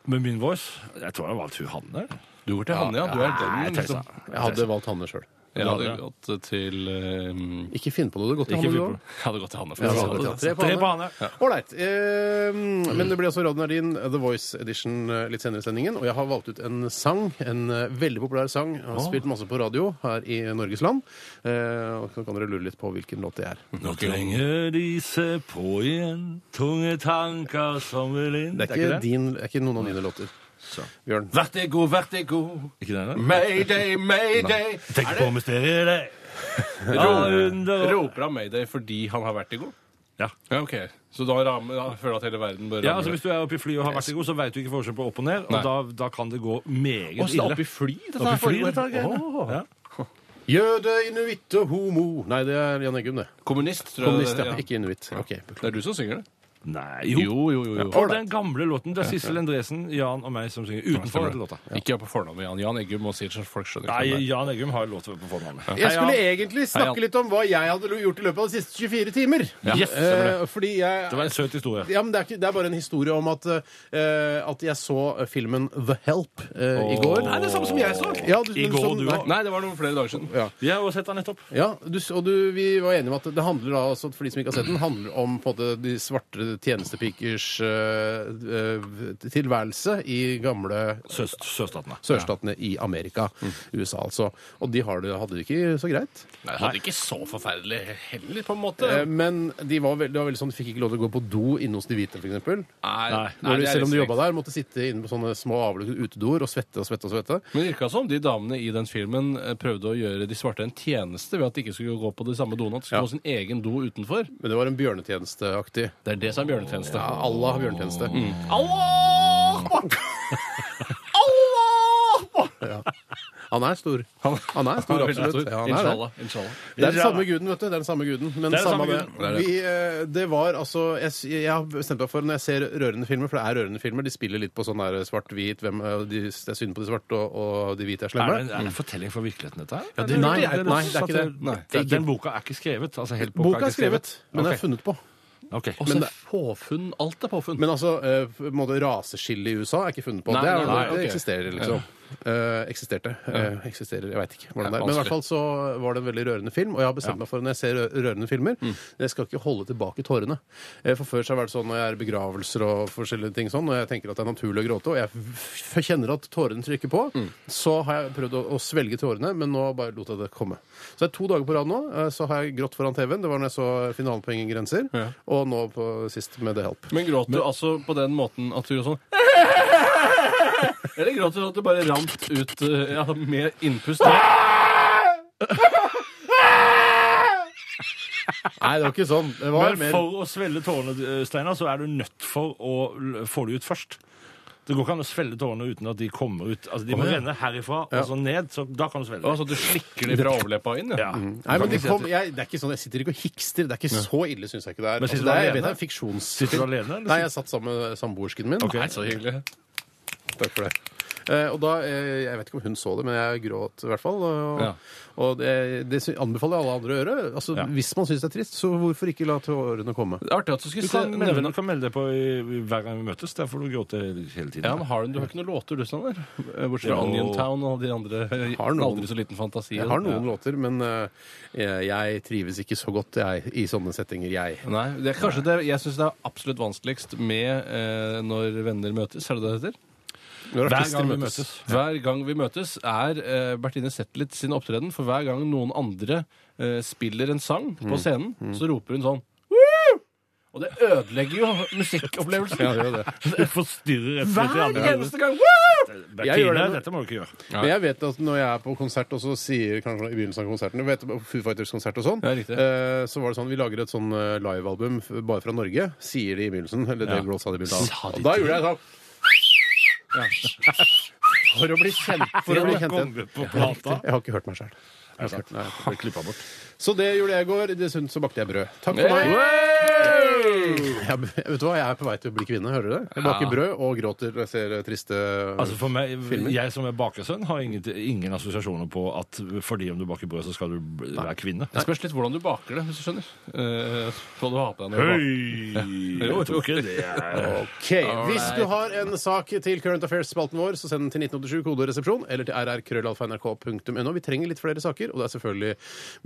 S3: Med min voice. Jeg tror jeg valgte hun Hanne.
S2: Du går til Hanne, ja. Du er den.
S3: sånn.
S2: Liksom.
S1: Jeg hadde valgt Hanne sjøl.
S2: Jeg hadde gått til eh,
S1: Ikke finn på noe. Det er godt å
S2: Ikke
S1: ha noe
S2: fyr på
S1: også.
S2: det. Jeg hadde gått til Hanne.
S1: Ja, det
S2: faktisk.
S1: var
S2: Jeg
S1: Tre
S2: hadde det. sånn.
S1: på
S3: Tre på
S1: Hanne.
S3: Hanne.
S1: Ålreit. Eh, men det blir altså Radio Nardin, The Voice Edition, eh, litt senere i sendingen. Og jeg har valgt ut en sang, en eh, veldig populær sang. Jeg har spilt masse på radio her i Norges land. Eh, og så kan dere lure litt på hvilken låt det er.
S3: Nå trenger de se på igjen, tunge tanker som vil inn.
S1: Det er ikke, din, det er ikke noen av dine låter. Bjørn.
S2: Vertigo, vertigo,
S3: Ikke den, eller?
S2: mayday, mayday.
S3: Tenk på mysteriet, det! Ja, under
S2: Roper han mayday fordi han har vertigo?
S3: Ja.
S2: Ja, ok. Så da, rammer, da føler jeg at hele verden bør ramme
S3: Ja, altså Hvis du er oppe i flyet og har vertigo, så veit du ikke forskjell på opp og ned.
S2: Nei.
S3: Og da, da kan det gå meget
S2: Å, så det er
S3: ille.
S2: opp i fly? Dette
S3: Opp i
S2: her
S3: fly,
S2: foregår.
S3: dette her greiene. Ja.
S1: Jøde, inuitt og homo Nei, det er Jan Eggum, det.
S2: Kommunist, tror jeg.
S1: Kommunist,
S2: det
S1: ja.
S2: er.
S1: Ikke inuitt. Ok, beklager.
S2: Det er du som synger det?
S3: Nei, jo.
S2: jo, jo. jo.
S3: Og den gamle låten. Det er Sissel Endresen, Jan og meg som synger utenfor denne låta.
S2: Ikke på fornavn med Jan. Jan Eggum og sier så folk skjønner
S3: Nei,
S2: ikke.
S3: Jan Eggum har låt på fornavnet.
S1: Jeg
S3: Hei,
S1: skulle
S3: Jan.
S1: egentlig snakke
S2: Jan.
S1: litt om hva jeg hadde lo- gjort i løpet av de siste 24 timer.
S3: Yes, det var det.
S1: Eh, fordi jeg
S3: Det var en søt historie.
S1: ja, men det, er ikke, det er bare en historie om at, eh, at jeg så filmen The Help eh, i går.
S3: Nei, det er samme som jeg så.
S1: Ja, du,
S3: I
S1: men
S3: går,
S1: sånn-
S3: du
S1: nei.
S3: også.
S2: Nei, det var noen flere dager siden.
S3: Jeg har også sett den nettopp.
S1: Ja, du, s- og du, vi var enige om at det handler da, altså, for de som ikke har sett den, handler om på en måte, de svarte tjenestepikers eh, eh, tilværelse i gamle
S3: Søst, Sørstatene.
S1: sørstatene i Amerika. USA, altså. Og de har det, hadde det ikke så greit.
S2: Nei, det hadde ikke så forferdelig heller, på en måte.
S1: Eh, Men de var veldig, det var veldig sånn, de fikk ikke lov til å gå på do inne hos de hvite, f.eks.
S2: Nei,
S1: Når
S2: det
S1: du,
S2: er liksom
S1: selv om du
S2: litt
S1: jobba der, måtte sitte inne på sånne små avlukkede utedoer og svette og svette. og svette.
S2: Men det virka som de damene i den filmen eh, prøvde å gjøre de svarte en tjeneste ved at de ikke skulle gå på de samme doene, at de skulle
S1: Ja.
S2: gå sin egen do utenfor.
S1: Men det var en bjørnetjenesteaktig.
S2: Det er det som er bjørnetjeneste.
S1: Ja, Allah har bjørnetjeneste.
S2: Mm. Allah! Allah!
S1: Ja. Han er stor. Han, er stor, absolutt. Ja, han er det.
S2: Inshallah. Inshallah.
S1: Det er den samme guden, vet du. Det er den samme guden. Men
S3: Det er den
S1: samme
S3: samme
S1: det.
S3: guden. Det er det.
S1: Vi, eh, det var altså Jeg, s- jeg har bestemt meg for når jeg ser rørende filmer, for det er rørende filmer, de spiller litt på sånn der svart-hvit hvem, eh, de, Det er synd på de svarte, og, og de hvite er
S3: Er
S1: slemme.
S3: det, en- er det en fortelling fra virkeligheten, dette her?
S1: det- nei, nei, det er ikke det.
S3: Nei,
S1: Det er ikke-
S3: Den boka er ikke skrevet? Altså, helt boka,
S1: Boka er skrevet, men den
S3: Ok.
S1: er funnet på.
S3: Ok.
S2: Og så påfunn. Alt er påfunn.
S1: Men altså, eh, på en måte raseskille i USA er ikke funnet på.
S2: Nei,
S1: det, er,
S2: nei, nei,
S1: det
S2: ok.
S1: eksisterer, liksom. Eh, eksisterte. Eh, eksisterer, Jeg veit ikke hvordan det
S2: Nei,
S1: er. Men i hvert
S2: vanskelig.
S1: fall så var det en veldig rørende film, og jeg har bestemt meg for når jeg ser rø- rørende filmer,
S2: Mm.
S1: jeg skal ikke holde tilbake tårene. Eh, For før så har det vært sånn når jeg er i begravelser og forskjellige ting sånn, og jeg tenker at det er naturlig å gråte, og jeg f- kjenner at tårene trykker på,
S2: Mm.
S1: så har jeg prøvd å, å svelge tårene, men nå bare lot jeg det komme. Så det er to dager på rad nå, eh, så har jeg grått foran TV-en. Det var når jeg så finalen på Ingen grenser,
S2: Ja.
S1: og nå på sist med The Help.
S2: Men gråt du altså på den måten at du gjør sånn Eller gråt du at du bare rant ut eh, ja, med innpust?
S1: Nei, det var ikke sånn. Det var
S3: Men
S1: mer
S3: for å svelle tårene, eh, Steinar, så er du nødt for å l- få det ut først. Det går ikke an å svelle tårene uten at de kommer ut. Altså, De må renne herifra og så ned, så da kan du svelle.
S2: Altså, du slikker det fra overleppa inn?
S3: Ja.
S1: Nei, men det, kom, jeg, det er ikke sånn, jeg sitter ikke og hikster. Det er ikke så ille, syns jeg ikke det er.
S3: Men
S1: Altså,
S3: sitter du
S1: det er, jeg
S3: alene?
S1: vet det er fiksjons...
S3: Sitter du alene, eller
S1: Nei, jeg satt sammen med samboersken min.
S2: Nei, så hyggelig.
S1: Takk for det. Eh, og da, eh, Jeg vet ikke om hun så det, men jeg gråt i hvert fall. Og,
S2: Ja.
S1: og det, det sy- anbefaler jeg alle andre å gjøre. Altså,
S3: Ja.
S1: Hvis man syns det er trist, så hvorfor ikke la tårene komme?
S2: Det er artig at du skulle
S3: Du
S2: se,
S3: kan melde,
S2: nevne
S3: du kan melde deg på i, i, hver gang vi møtes. Der får du gråte hele tiden.
S2: ja, men har du, du har ikke noen låter, du, Sander? Eh, Bortsett fra
S3: Jo.
S2: Onion Town og de andre. eh,
S1: Har noen.
S2: Aldri så liten fantasi.
S1: Jeg har noen låter, men eh, jeg jeg trives ikke så godt jeg, i sånne settinger, jeg.
S2: Nei, det er kanskje det jeg syns det er absolutt vanskeligst med eh, når venner møtes, er det det det heter?
S1: Når
S3: Hver
S1: artister
S3: gang vi
S1: møtes.
S3: møtes.
S2: Hver gang vi møtes, er eh, Bertine Zetlitz sin opptreden. For hver gang noen andre eh, spiller en sang
S1: Mm.
S2: på scenen, så roper hun sånn «Woo!» Og det ødelegger jo musikkopplevelsen.
S1: Ja, det gjør det.
S3: Du forstyrrer rett og slett de
S2: Hver
S3: andre.
S2: eneste gang! Woo!
S1: Jeg gjør
S3: Bertine,
S1: det nå.
S3: dette må du ikke gjøre.
S2: Ja.
S1: Men jeg vet at når jeg er på konsert, og så sier kanskje i begynnelsen av konserten du vet, på Foo Fighters-konsert og sånn,
S2: Ja, riktig.
S1: eh, så var det sånn Vi lager et sånn eh, livealbum f- bare fra Norge, sier de i begynnelsen. Eller Dave Grohl sa det i
S2: Sa
S1: begynnelsen.
S2: de
S1: Og da gjorde jeg sånn. For å bli kjent, for å bli kjent igjen.
S3: Konge på plata.
S1: Jeg har ikke hørt meg sjøl.
S3: Er det sant? Har klippa bort.
S1: Så det gjorde jeg i går. Dessuten så bakte jeg brød. Takk for meg. Jeg, vet du hva, jeg er på vei til å bli kvinne, hører du det? Jeg baker brød og gråter når jeg ser eh, triste
S3: Altså for meg, Jeg som er bakersønn, har ingen, ingen assosiasjoner på at fordi om du baker brød, så skal du b- være kvinne.
S2: Det spørs litt hvordan du baker det, hvis du skjønner. Eh, hva du har på deg når du baker.
S3: Høy! Jeg tror ikke det er
S1: Ok, Hvis du har en sak til Current Affairs-spalten vår, så send den til 1987 koderesepsjon eller til rrkrøllalfa.nrk.no. Vi trenger litt flere saker, og det er selvfølgelig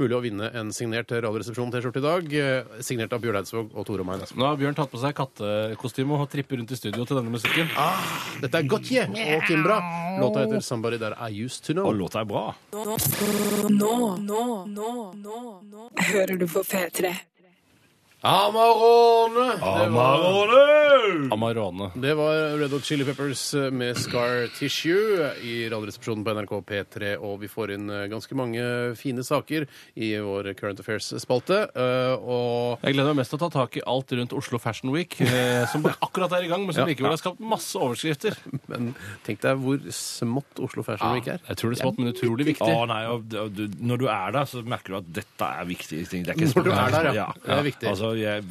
S1: mulig å vinne en signert Radioresepsjon-T-skjorte i dag. eh, Signert av Bjørn Eidsvåg og Tore Mein.
S2: Nå har Bjørn tatt på seg kattekostyme og tripper rundt i studio til denne musikken.
S1: Ah. Dette er Gotye og Kimbra. Låta heter 'Somebody That I Used To
S3: Og
S1: Know'.
S3: låta er bra.
S5: Nå, nå, nå, nå, nå, nå hører du på P3.
S1: Amarone! Det var-
S3: Amarone!
S2: Amarone.
S1: Det var Red Hot Chili Peppers eh, med Scar Tissue i Radioresepsjonen på NRK P3. Og vi får inn eh, ganske mange fine saker i vår Current Affairs-spalte. eh, Og
S2: Jeg gleder meg mest til å ta tak i alt rundt Oslo Fashion Week, eh, som bare akkurat er i gang, men som likevel har skapt masse overskrifter.
S1: Men tenk deg hvor smått Oslo Fashion Week er.
S2: Jeg tror det er smått, men utrolig
S3: Å
S2: viktig.
S3: nei, og, d- og, du, Når du er der, så merker du at dette er viktige ting. Det er ikke
S1: Når
S3: sånn
S1: du er der, ja.
S3: ja.
S1: Det er viktig.
S3: Altså, jeg,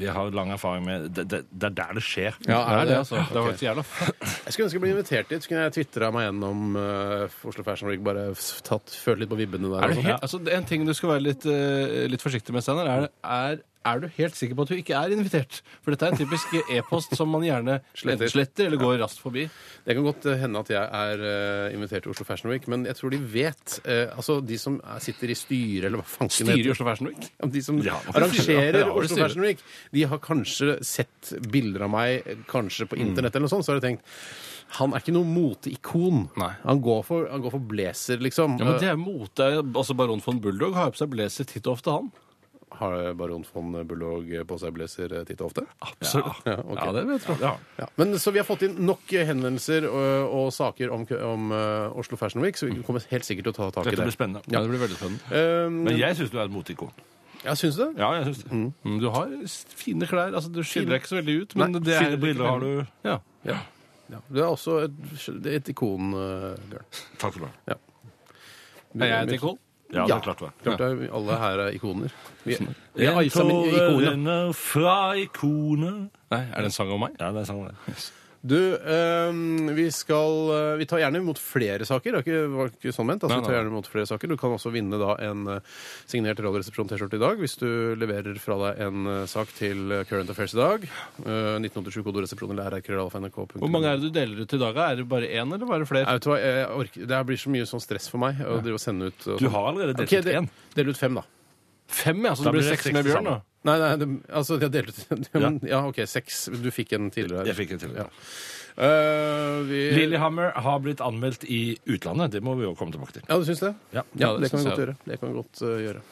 S3: jeg har lang erfaring med det, det, det er der det skjer.
S1: Ja,
S2: Det er det, altså. Det var faktisk jævla fett.
S1: Jeg skulle ønske jeg ble invitert dit. Så kunne jeg tvitra meg gjennom eh, Oslo Fashion Week. Bare f- tatt, følt litt på vibbene der.
S2: Er
S1: og
S2: du
S1: sånn.
S2: helt, altså, det er en ting du skal være litt, eh, litt forsiktig med, Steinar, er, er er du helt sikker på at du ikke er invitert? For dette er en typisk e-post som man gjerne
S1: Sletter.
S2: sletter, sletter eller går raskt forbi.
S1: Det kan godt eh, hende at jeg er eh, invitert til Oslo Fashion Week, men jeg tror de vet eh, Altså de som er- sitter i styret, eller hva fanken
S2: Styrer i Oslo Fashion Week.
S1: Ja, De som
S3: Ja, det
S1: arrangerer
S3: styrer. Ja, det
S1: Oslo
S2: styrer.
S1: Fashion Week, de har kanskje sett bilder av meg eh, kanskje
S2: Mm.
S1: på internett, eller noe sånt, så har de tenkt han er ikke noe moteikon.
S2: Nei.
S1: Han, går for- han går for blazer, liksom.
S2: Ja, men det er mote. Det er- Altså, Baron von Bulldog har jo på seg blazer titt og ofte, han.
S1: Eh, Har Baron von Bulldog på seg blazer eh, titt og ofte?
S2: Absolutt.
S1: Ja, ok.
S2: Ja, det vet jeg.
S3: Ja.
S1: Ja, men Så vi har fått inn nok eh, henvendelser og, og saker om, kø- om eh, Oslo Fashion Week, så vi kommer helt sikkert til å ta tak i
S3: Dette
S1: det.
S3: blir spennende.
S2: Ja, det Mm. blir veldig spennende.
S1: Um,
S3: Men jeg syns du er et moteikon.
S1: ja, syns du det?
S3: Ja, jeg syns det.
S2: Mm, Du har s- fine klær. altså Du skiller deg ikke så veldig ut. Men
S3: Nei,
S2: det er
S3: fine briller har du.
S2: Ja.
S1: Ja. Du er også et, et ikon, eh, Bjørn.
S3: Takk skal du ha.
S1: Ja.
S2: Er jeg et ikon?
S3: Ja, det er klart det.
S1: Klart det, er- alle her er ikoner. Vi, vi er
S3: Jeg
S1: sammen i ikoner.
S3: renner fra ikonet
S2: Nei, Er det en sang om meg?
S3: Ja, det er sånn det.
S1: Du, øhm, vi skal øh, Vi tar gjerne imot flere saker. Det er ikke, var ikke sånn ment. Altså,
S2: Nei,
S1: vi tar
S2: nei.
S1: gjerne imot flere saker. Du kan også vinne da en øh, signert Radioresepsjon-T-skjorte i dag hvis du leverer fra deg en øh, sak til øh, Current Affairs i dag. Øh, 1987 kodoresepsjon eller rrkrøllalfa.nrk.no.
S2: Hvor mange er det du deler ut i dag? Er det bare én, eller var det flere?
S1: Nei, vet du hva, jeg orker, Det her blir så mye sånn stress for meg å drive og sende ut og
S3: Du
S1: sånn.
S3: har allerede delt
S1: Ok,
S3: ut
S1: det-
S3: én.
S1: Del ut fem, da.
S2: Fem, ja. Så
S3: Da
S2: det blir
S3: blir det
S2: seks
S3: seks
S2: med
S3: til
S2: Bjørn, da.
S3: sammen.
S1: Nei, nei, det, altså de har delt ut ja. men- ja, OK, seks. Du fikk en tidligere.
S3: Jeg fikk en til.
S1: Ja. Eh, vi,
S3: Lillehammer har blitt anmeldt i utlandet. Det må vi jo komme tilbake til.
S1: Ja, du syns det?
S3: Ja.
S1: Ja, det, kan vi
S2: synes jeg.
S1: godt gjøre. det kan vi godt eh, gjøre.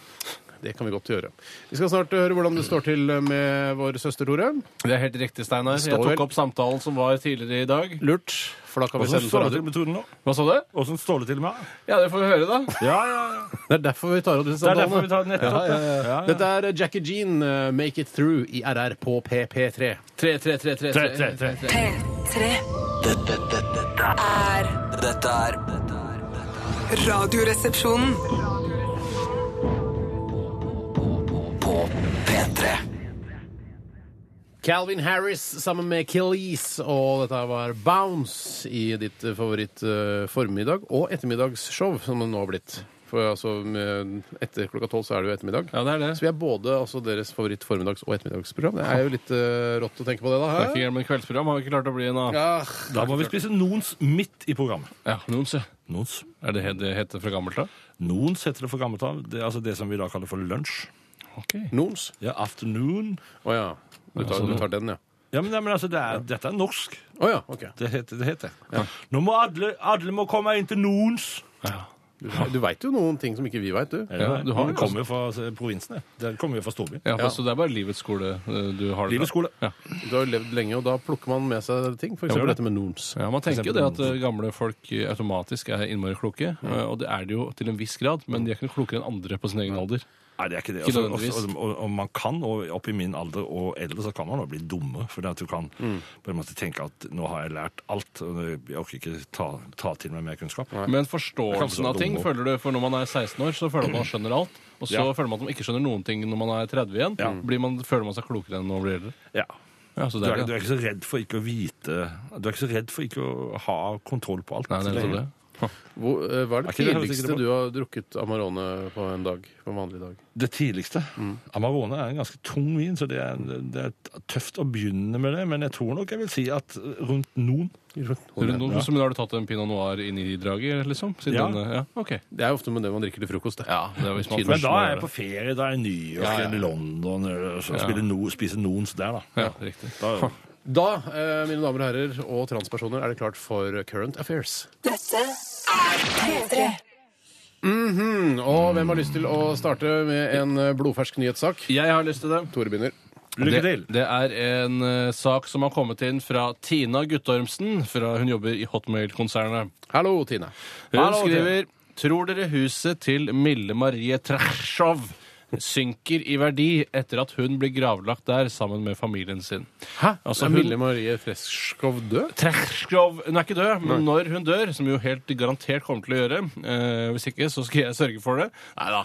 S1: Det kan vi godt gjøre. Vi skal snart eh, høre hvordan det står til med vår søster Tore.
S2: Det er helt riktig, Steinar. Jeg
S1: Står vel-
S2: tok opp samtalen som var tidligere i dag.
S1: Lurt, for da kan vi
S3: Åssen
S1: sende
S3: står det
S1: fra-
S3: til med Tore nå?
S2: Hva sa du?
S3: Åssen står det til med henne?
S2: Ja, det får vi høre, da.
S3: Ja, ja, ja.
S1: Det er derfor vi tar opp disse
S3: Det er
S1: samtalene.
S3: derfor vi tar den nettopp.
S1: Ja, ja, ja. Dette er Jackie Jean, eh, 'Make It Through' i RR på PP3.
S2: Tre, tre, tre, tre,
S3: Tre, tre, tre.
S5: P3
S4: Dette, dette, dette,
S5: er
S4: er- dette er dette er- dette
S5: Radioresepsjonen.
S4: er På P3
S1: Calvin Harris sammen med Kelis, og dette her var 'Bounce' i ditt eh, favoritt eh, formiddag- og ettermiddagsshow, som det nå har blitt. For altså, med- etter klokka tolv så er det jo ettermiddag.
S2: Ja, det er det.
S1: Så vi er både altså, deres favoritt formiddags- og ettermiddagsprogram. Det er jo litt eh, rått å tenke på det, da.
S2: Det er
S1: hæ?
S2: ikke gjennom en kveldsprogram. Har vi ikke klart å bli en av
S1: Ja,
S3: Da må vi spise nons midt i programmet.
S2: Ja, Nons, ja.
S3: Nons.
S2: Er det det heter fra gammelt av?
S3: Nons heter det for gammelt av. Det, er altså det som vi da kaller for lunsj.
S2: Ok.
S1: Nons.
S3: Ja, afternoon.
S1: Å ja. Du tar, du tar den, ja.
S3: Ja, men, nei, men altså, det er, dette er norsk.
S1: Å ja, ok.
S3: Det heter det. Heter. Nå må alle, alle må komme inn til nons.
S2: Ja.
S1: Du, du veit jo noen ting som ikke vi veit, du.
S3: Ja,
S2: du har
S3: Den
S2: jo
S3: kommer jo fra altså, provinsene. Den kommer jo fra storbyen.
S2: Ja,
S1: Ja.
S2: Så det er bare livets skole eh, du har det
S3: Livets
S2: fra.
S3: skole.
S2: Ja.
S1: Du har jo levd lenge, og da plukker man med seg ting. For eksempel
S2: det.
S1: dette med Nons.
S2: Ja, Man tenker jo det at eh, gamle folk eh, automatisk er innmari kloke, eh, og det er de jo til en viss grad, men de er ikke noe klokere enn andre på sin egen alder.
S3: Nei, det er ikke det.
S2: Ikke
S3: Altså,
S2: nødvendigvis.
S3: også- og, og man kan, og opp i min alder og eldre, så kan man da bli dumme. For det at du kan på en måte tenke at nå har jeg lært alt, og jeg orker ikke ta, ta til meg mer kunnskap.
S2: Men
S3: Jeg kan forstå
S2: forståelsen av ting
S3: dumme.
S2: føler du, for når man er 16 år, så føler man at man skjønner alt. Og så
S3: Ja.
S2: føler man at man ikke skjønner noen ting når man er 30 igjen.
S3: Ja.
S2: Blir man, føler man seg klokere enn når man blir eldre.
S3: Ja.
S2: Ja, så
S3: Du
S2: det er
S3: er, du
S2: det.
S3: er ikke så redd for ikke å vite Du er ikke så redd for ikke å ha kontroll på alt.
S2: Nei, det er nettopp det.
S1: Hvor, eh, hva er
S3: Er
S1: det
S3: ikke det helt
S1: tidligste
S3: sikkert
S1: du har drukket Amarone på en dag? På en vanlig dag?
S3: Det tidligste. Amarone er en ganske tung vin, så det er, det er tøft å begynne med det. Men jeg tror nok jeg vil si at rundt noen
S2: Rundt om, så, men har du tatt en pinot noir inn i draget, liksom? Siden
S3: Ja.
S2: Den, ja, ok.
S1: Det er ofte med det man drikker til frokost. Det.
S2: Ja, det er hvis man
S3: Men
S2: først
S3: da
S2: må
S3: er jeg
S2: gjøre
S3: på ferie. Da er jeg i New York
S2: Ja, ja.
S3: eller London eller så spiller no, spiser noens der,
S2: det.
S3: da.
S2: Ja, riktig.
S3: da
S1: Da, eh, mine damer og herrer og transpersoner, er det klart for Current Affairs.
S5: Dette er P3.
S1: Mm, Og hvem har lyst til å starte med en eh, blodfersk nyhetssak?
S2: Jeg har lyst til det.
S1: Tore begynner.
S3: Lykke
S2: det,
S3: til.
S2: Det er en eh, sak som har kommet inn fra Tina Guttormsen. Fra, hun jobber i Hotmail-konsernet.
S1: Hallo, Tine.
S2: Hun
S3: Hallo,
S2: skriver Tror dere huset til Mille Marie Trashov synker i verdi etter at hun blir gravlagt der sammen med familien sin?
S1: Hæ?
S2: Altså,
S1: er
S2: hun-
S1: Mille Marie Freskov død?
S2: Trashov Hun er ikke død, men når hun dør, som hun jo helt garantert kommer til å gjøre eh, Hvis ikke, så skal jeg sørge for det. Nei da.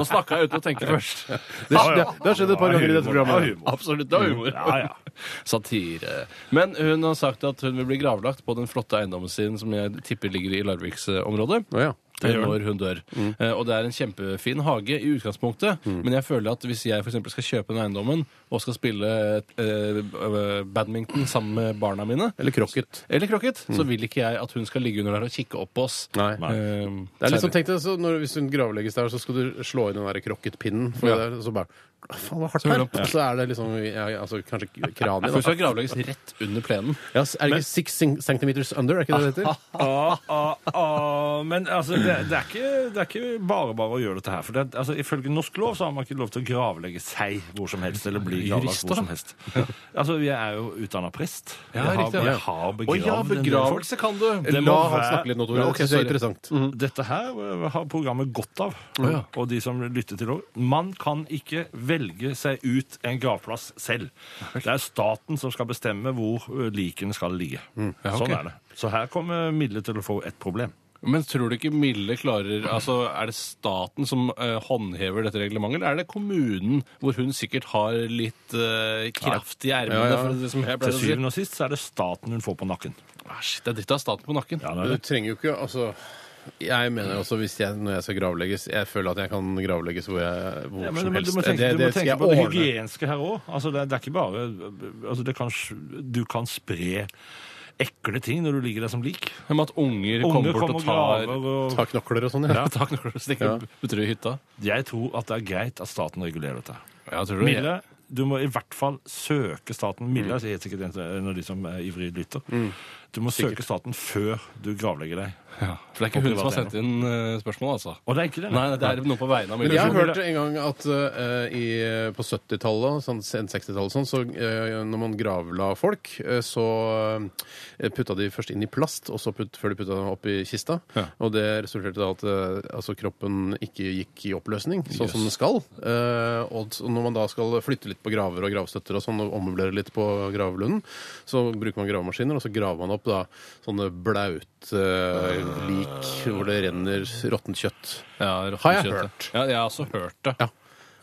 S2: Nå snakka jeg uten å tenke først.
S1: Det, det, det har skjedd et par ganger i dette
S3: Ja,
S1: programmet.
S3: humor.
S2: Absolutt. Det er humor.
S3: Ja, ja.
S2: Satire. Men hun har sagt at hun vil bli gravlagt på den flotte eiendommen sin som jeg tipper ligger i Larviksområdet.
S1: Å, ja.
S2: Når hun dør.
S1: Mm.
S2: Eh, og det er en kjempefin hage i utgangspunktet, men jeg føler at hvis jeg for eksempel skal kjøpe den eiendommen og skal spille eh, eh, badminton sammen med barna mine
S1: Eller krokket.
S2: eller krokket, så vil ikke jeg at hun skal ligge under der og kikke opp på oss.
S1: Nei.
S2: Eh,
S1: Det er liksom,
S2: særlig.
S1: tenk deg, så når, Hvis hun gravlegges der, så skal du slå inn den der krokketpinnen. For
S2: Ja.
S1: det er- så bare Faen, det var hardt
S2: Så
S1: her!
S2: hører han-
S1: Så er det liksom ja, ja, altså, Kanskje kraniet,
S2: For hun
S1: da.
S2: skal gravlegges rett under plenen.
S1: Ja, er det ikke six cen- centimeters under? Er ikke det det heter?
S3: Ah, ah, ah. Men altså, det, det, er ikke, det er ikke bare bare å gjøre dette her. For det, altså, Ifølge norsk lov så har man ikke lov til å gravlegge seg hvor som helst. Eller bli gravlagt
S2: Jurister, da.
S3: hvor som helst. Altså, Jeg er jo utdanna prest.
S2: Ja,
S3: jeg,
S2: riktig,
S3: har,
S2: ja.
S3: jeg har
S2: Å
S3: begravd
S2: ja,
S3: en del folk.
S2: begravelse kan du! Det
S1: La
S2: må
S1: han
S3: være-
S1: snakke litt nå, Tore.
S2: Ja,
S1: Det
S2: ok,
S1: synes jeg er
S2: sorry.
S1: interessant.
S3: Dette her eh, har programmet godt av,
S2: ja.
S3: og de som lytter til òg. Man kan ikke velge seg ut en gravplass selv. Det er staten som skal bestemme hvor eh, likene skal ligge.
S2: Ja, ok.
S3: Sånn er det. Så her kommer Mille til å få et problem.
S2: Men tror du ikke Mille klarer altså Er det staten som eh, håndhever dette reglementet, eller er det kommunen, hvor hun sikkert har litt eh, kraft i ermene?
S1: Ja, ja.
S2: for det som jeg
S3: Til
S2: pleier å si?
S3: syvende og sist så er det staten hun får på nakken.
S2: Ah, shit, det er dritt av staten på nakken.
S3: Ja,
S1: Du
S3: det er det.
S1: trenger jo ikke Altså jeg mener også hvis jeg, når jeg skal gravlegges Jeg føler at jeg kan gravlegges hvor, jeg, hvor
S3: Ja, men du
S1: som
S3: må,
S1: helst.
S3: du må tenke,
S1: det,
S3: du må
S1: det skal
S3: tenke
S1: jeg
S3: på det
S1: ordne.
S3: hygieniske her òg. Altså, det, det er ikke bare altså, det kan, Du kan spre ekle ting når du ligger der som lik.
S2: Men at unger
S3: Unger
S2: kommer bort
S3: kommer og
S2: og tar
S3: graver og
S1: Ta knokler og sånn, ja.
S2: Ja, takk når du stikker
S1: Ja.
S2: opp butter i hytta.
S3: Jeg tror at det er greit at staten regulerer dette.
S2: Ja, tror du det?
S3: Mille, du må i hvert fall søke staten. Mille er helt sikkert en av de som er ivrig lytter. Du må søke staten før du gravlegger deg.
S2: Ja. For det er ikke hun som har sendt inn eh, spørsmål, altså.
S3: Og det er ikke det.
S2: Nei, det er noe på vegne av
S1: Men jeg har
S2: Mille.
S1: hørt en gang at eh, i, på 70-tallet, sånn, sent 60-tallet, sånn, så eh, når man gravla folk, eh, så eh, putta de først inn i plast, og så putt, før de putta dem opp i kista.
S2: Ja.
S1: Og det resulterte da at eh, altså, kroppen ikke gikk i oppløsning, sånn som den skal. Eh, og så når man da skal flytte litt på graver og gravstøtter og sånn, og ommøblere litt på gravlunden, så bruker man gravemaskiner, og så graver man opp da sånne blaute eh, lik hvor det renner råttent kjøtt.
S2: Ja,
S1: Har jeg
S2: rotteskjøtet.
S1: hørt?
S2: Ja, jeg har også hørt det.
S1: Ja.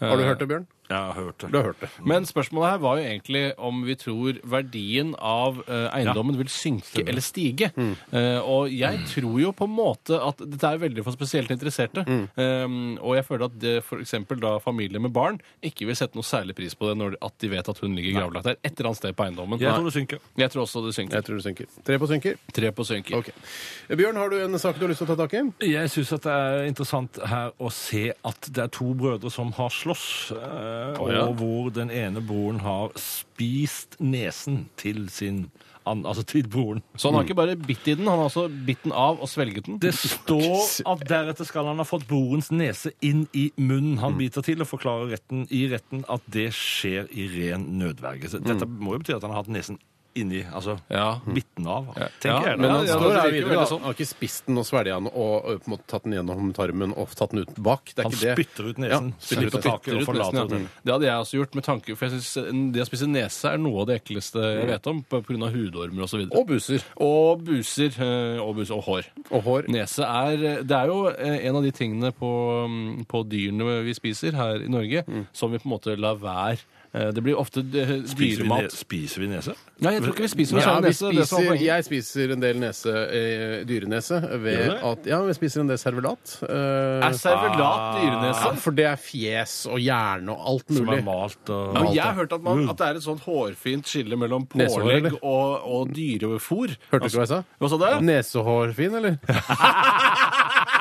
S1: Har du hørt det, Bjørn?
S3: Jeg har hørt det.
S1: Du har hørt det.
S2: Men spørsmålet her var jo egentlig om vi tror verdien av eh, eiendommen vil synke eller stige.
S1: Mm.
S2: Eh, og jeg tror jo på en måte at dette er veldig for spesielt interesserte.
S1: Mm.
S2: Eh, og jeg føler at det for eksempel da familier med barn ikke vil sette noe særlig pris på det når at de vet at hun ligger gravlagt der et eller annet sted på eiendommen.
S3: Jeg
S2: Nei.
S3: tror det synker.
S2: jeg tror også det synker.
S1: Jeg tror det synker. Tre på synker.
S2: Tre på synker.
S1: Ok. Bjørn, har du en sak du har lyst til å ta tak i?
S3: Jeg syns det er interessant her å se at det er to brødre som har slåss, eh,
S2: Å, ja.
S3: og hvor den ene broren har spist nesen til sin an, Altså til broren.
S2: Så
S1: Mm.
S2: han har ikke bare bitt i den, han har også bitt den av og svelget den.
S3: Det står at deretter skal han ha fått brorens nese inn i munnen
S2: Mm.
S3: han biter til, og forklarer retten, i retten at det skjer i ren nødverge. Så Dette må jo bety at han har hatt nesen inni, altså
S2: Mm. Ja.
S3: bitten av,
S2: Ja,
S3: tenker jeg.
S2: men
S3: da.
S2: han
S1: det
S2: står
S1: står
S2: her
S1: her
S2: videre,
S1: videre,
S2: da.
S1: da. Han har ikke spist den og svelget den og ø, på en måte tatt den gjennom tarmen og tatt den ut bak. Det er
S3: Han
S1: ikke det.
S3: spytter ut nesen,
S1: Ja, spytter ut nesen.
S3: slipper taket og
S2: Ut nesten,
S3: forlater
S2: ja.
S3: hotellet.
S2: Det hadde jeg også gjort, med tanke, for jeg synes eh, det å spise nese er noe av det ekleste jeg vet om, pga. hudormer osv. Og, så videre.
S1: Og buser.
S2: og buser. eh, Og buser og hår.
S1: Og hår.
S2: Nese er Det er jo eh, en av de tingene på, mm, på dyrene vi spiser her i Norge,
S1: Mm.
S2: som vi på en måte lar være. Eh, Det blir ofte eh,
S3: Spiser vi, ne
S2: dyremat.
S3: spiser vi nese?
S2: Nei, jeg tror ikke vi spiser noe
S1: Ja,
S2: særlig
S1: vi
S2: nese. det som er sånn
S1: spiser,
S2: poenget.
S1: jeg spiser en del nese, eh, dyrenese
S3: Gjør
S1: ved
S3: du det?
S1: at Ja, vi spiser en del servelat. eh,
S2: Er servelat
S1: ja,
S2: dyrenese?
S1: for det er fjes og hjerne og alt
S3: Som
S1: mulig.
S3: er malt og
S2: Ja, men
S1: Alt
S2: jeg har
S1: det.
S2: hørt at, man, at det er et sånt hårfint skille mellom
S1: Nesehår,
S2: pålegg
S1: eller?
S2: og, og dyrefôr.
S1: Hørte du ikke hva jeg sa?
S2: Hva sa du?
S1: Nesehårfin, eller?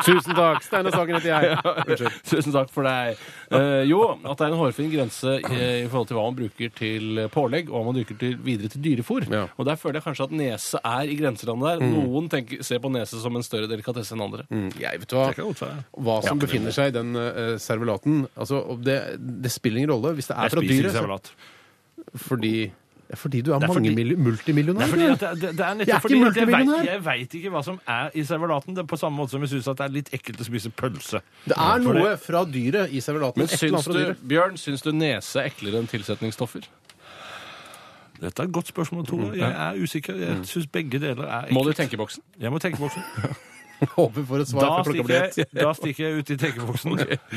S1: Tusen takk. Steinar Sagen heter jeg. Unnskyld.
S2: Tusen takk for deg. Eh, jo, at det er en hårfin grense i, i forhold til hva man bruker til pålegg, og hva man bruker til, videre til dyrefôr.
S1: Ja. Mm.
S2: Og der føler jeg kanskje at nese er i grenselandet der. Noen tenker, ser på nese som en større delikatesse enn andre.
S1: Jeg vet hva.
S3: Det kan godt være.
S1: hva som befinner seg i den eh, servelaten. Altså, og det, det spiller ingen rolle hvis det er
S3: Jeg
S1: fra
S3: spiser ikke
S1: dyret.
S2: altså?
S1: så-
S3: servelat.
S1: Fordi, ja, fordi du er,
S3: Det er
S1: mange
S3: fordi-
S1: mil-
S3: Nei,
S1: multimillionær.
S3: fordi at
S1: du.
S3: det, det, det er
S1: Jeg er
S3: nettopp
S1: ikke
S3: fordi at jeg
S1: multimillionær.
S3: vet- Jeg veit ikke hva som er i servelaten. Det er på samme måte som jeg syns at det er litt ekkelt å spise pølse.
S1: det er
S3: For
S1: noe fra dyret i servelaten.
S2: Men
S1: et eller annet
S2: syns
S1: fra
S2: du,
S1: dyret.
S2: Bjørn, syns du nese er eklere enn tilsetningsstoffer?
S3: Dette er et godt spørsmål, Tore. Jeg er usikker. Jeg syns begge deler er
S2: Må du
S3: ekkelt.
S2: i tenkeboksen?
S3: Jeg må tenke boksen.
S1: Håper vi får et svar
S3: Da
S1: før klokka
S3: stikker
S1: blir ett.
S3: jeg, da stikker jeg ut i tenkeboksen.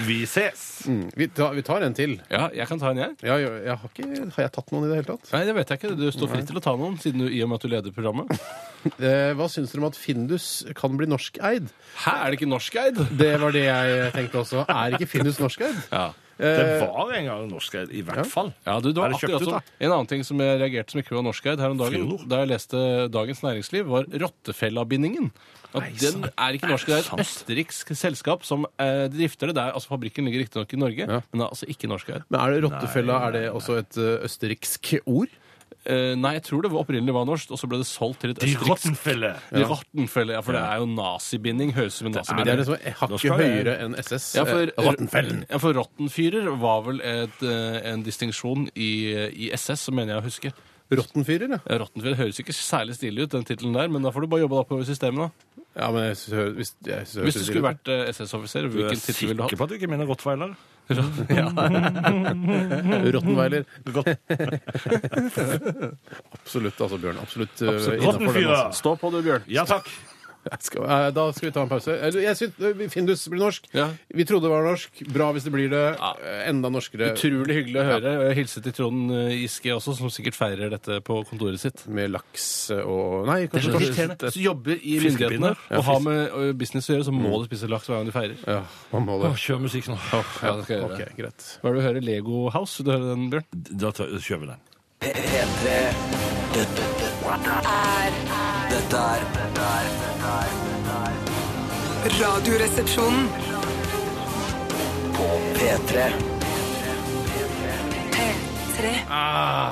S3: Vi ses!
S1: Mm, Vi, tar- vi tar en til.
S2: Ja, jeg kan ta en, jeg.
S1: Ja, jeg, jeg har, ikke, har jeg tatt noen i det hele tatt?
S2: Nei, det vet jeg ikke. Du står fritt til å ta noen, siden du, i og med at du leder programmet.
S1: Eh, hva syns dere om at Findus kan bli norskeid?
S2: Hæ, er det ikke norskeid?
S1: Det var det jeg tenkte også. Er ikke Findus norskeid?
S2: Ja.
S3: Det var en gang norskeid, i hvert fall.
S2: Ja, du, det var
S3: Er det kjøpt
S2: akkurat
S3: ut,
S2: som, En annen ting som jeg reagerte som ikke var norskeid her om dagen,
S3: Fyrnor?
S2: da jeg leste Dagens Næringsliv, var rottefellabindingen. At den er ikke norsk. Det er et østerriksk selskap som eh, drifter det. der, altså Fabrikken ligger riktignok i Norge, men det er altså ikke norskeid.
S1: Men er det Rottefella er det også et eh, østerriksk ord?
S2: Eh, nei, jeg tror det var opprinnelig var norsk, og så ble det solgt til et
S3: De
S2: østerriksk
S3: rottenfelle.
S2: De Rottenfelle. Ja, for det er jo nazibinding. Høres ut som en
S1: Det er
S2: nazibinding.
S1: liksom hakket
S3: skal jeg-
S1: høyere enn SS.
S2: Ja, for,
S1: eh, Rottenfellen.
S2: ja, for Rottenfyrer var vel et, eh, en distinksjon i, i SS, som mener jeg å huske.
S1: Rottenfyrer, ja.
S2: Rottenfjell høres ikke særlig stille ut, den tittelen der, men da får du bare jobbe deg oppover i systemet, da.
S1: Ja, men jeg hø- hvis, jeg hø-
S2: Hvis du skulle vært eh, SS-offiser,
S3: Du er
S2: hvilken tittel ville du hatt?
S3: sikker på at du ikke mener rottweiler?
S2: Mhm.
S1: Rottenweiler. absolutt, altså, Bjørn. Absolutt.
S3: Absolutt.
S1: innenfor den, altså.
S3: Rottenfyrer!
S2: Stå på du, Bjørn.
S3: Ja takk.
S1: Jeg skal, eh, da skal vi ta en pause. Eller, Jeg syns eh, Findus blir norsk.
S2: Ja.
S1: Vi trodde det var norsk. Bra hvis det blir det. Eh, Enda norskere
S2: Utrolig hyggelig å høre. og Jeg hilser til Trond eh, Giske også, som sikkert feirer dette på kontoret sitt. eh,
S1: med laks og Nei,
S2: Det
S1: kanskje
S2: er så
S1: torsk.
S2: irriterende. Hvis du jobber i myndighetene
S3: Fiskepinner.
S2: og har med ø, business å gjøre, så må du spise laks hver gang du feirer.
S1: Ja, man må det.
S3: Kjør musikk nå.
S2: Ja, det skal jeg
S1: Ok,
S2: gjøre.
S1: greit.
S2: Hva er det du hører? Lego House? Vil Du hører den, Bjørn?
S3: Da tar, kjører vi den.
S4: P- P3 Dette dette- Dette er Dette er dette er
S5: Radioresepsjonen.
S4: På P3
S5: P3.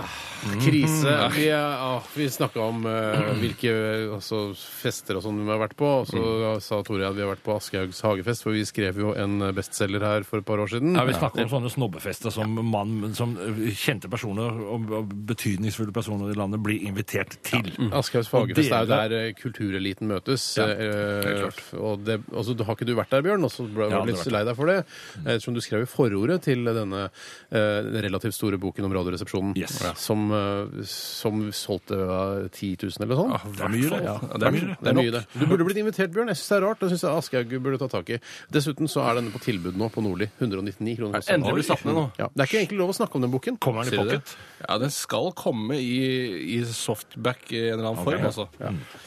S2: Mm.
S1: Krise. Vi, er- ah, vi snakka om eh, hvilke altså, fester og sånn vi har vært på. Og så
S2: Mm.
S1: sa Tore at vi har vært på Aschehougs hagefest, for vi skrev jo en bestselger her for et par år siden.
S3: Ja, vi snakker om sånne snobbefester som, mann, som eh, kjente personer og og betydningsfulle personer i landet blir invitert til.
S1: Aschehougs
S3: Og
S1: fagfest er jo
S3: dere-
S1: der eh, kultureliten møtes.
S3: Ja,
S1: eh,
S3: helt klart.
S1: og det, altså, du- har ikke du vært der, Bjørn? Og så ble
S3: Ja,
S1: jeg
S3: det
S1: litt
S3: har vært.
S1: lei deg for det. eh, Ettersom du skrev i forordet til denne eh, relativt store boken om Radioresepsjonen,
S3: Yes.
S1: som, eh, som solgte eh, 10 000 eller sånn.
S3: Det er mye, det.
S1: Ja,
S3: Ja, Ah, det er
S1: Det
S3: mye,
S1: er mye, det. Du burde blitt invitert, Bjørn. Jeg syns det er rart. Det syns jeg Aschehoug burde ta tak i. Dessuten så er denne på tilbud nå på Nordli. 199 kroner. også.
S2: Endelig blir satt ned nå.
S1: Ja, det er ikke egentlig lov å snakke om den boken.
S3: Kommer den
S2: Sier
S3: i
S2: du det?
S3: pocket?
S2: Ja, den skal komme i, i softback i en eller annen form,
S3: ja.
S2: altså.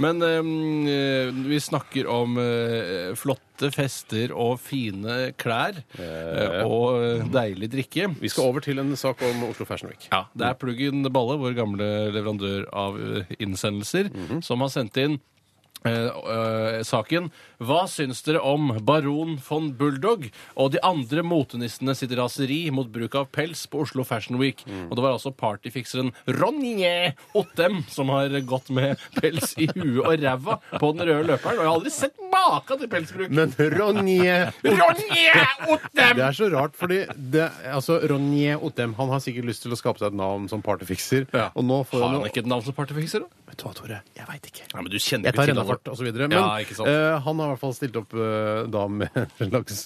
S2: Men øhm, øh, vi snakker om øh, flotte fester og fine klær øh, og øh, deilig drikke.
S1: Vi skal over til en sak om Oslo Fashion Week.
S2: Ja, Det er Pluggen Balle, vår gamle leverandør av eh, innsendelser, som har sendt inn eh, eh, saken Hva syns dere om baron von Bulldog og de andre motenissene sitt raseri mot bruk av pels på Oslo Fashion Week? Og det var altså partyfikseren Ronje Ottem som har gått med pels i huet og ræva på den røde løperen. Og jeg har aldri sett maka til pelsbruk!
S1: Men Ronje
S2: Ronje Ottem!
S1: Det er så rart, fordi det, altså, Ronje Otem han har sikkert lyst til å skape seg et navn som partyfikser.
S2: Ja.
S1: Og nå får
S2: Har han
S1: jo-
S2: ikke et navn som partyfikser? da?
S1: Vet du hva, Tore? Jeg veit ikke.
S2: Ja, men du kjenner
S1: Jeg
S2: jo
S1: tar
S2: til alle.
S1: rennafart osv. Men
S2: Ja, ikke sant.
S1: eh, han har i hvert fall stilt opp eh, da med en slags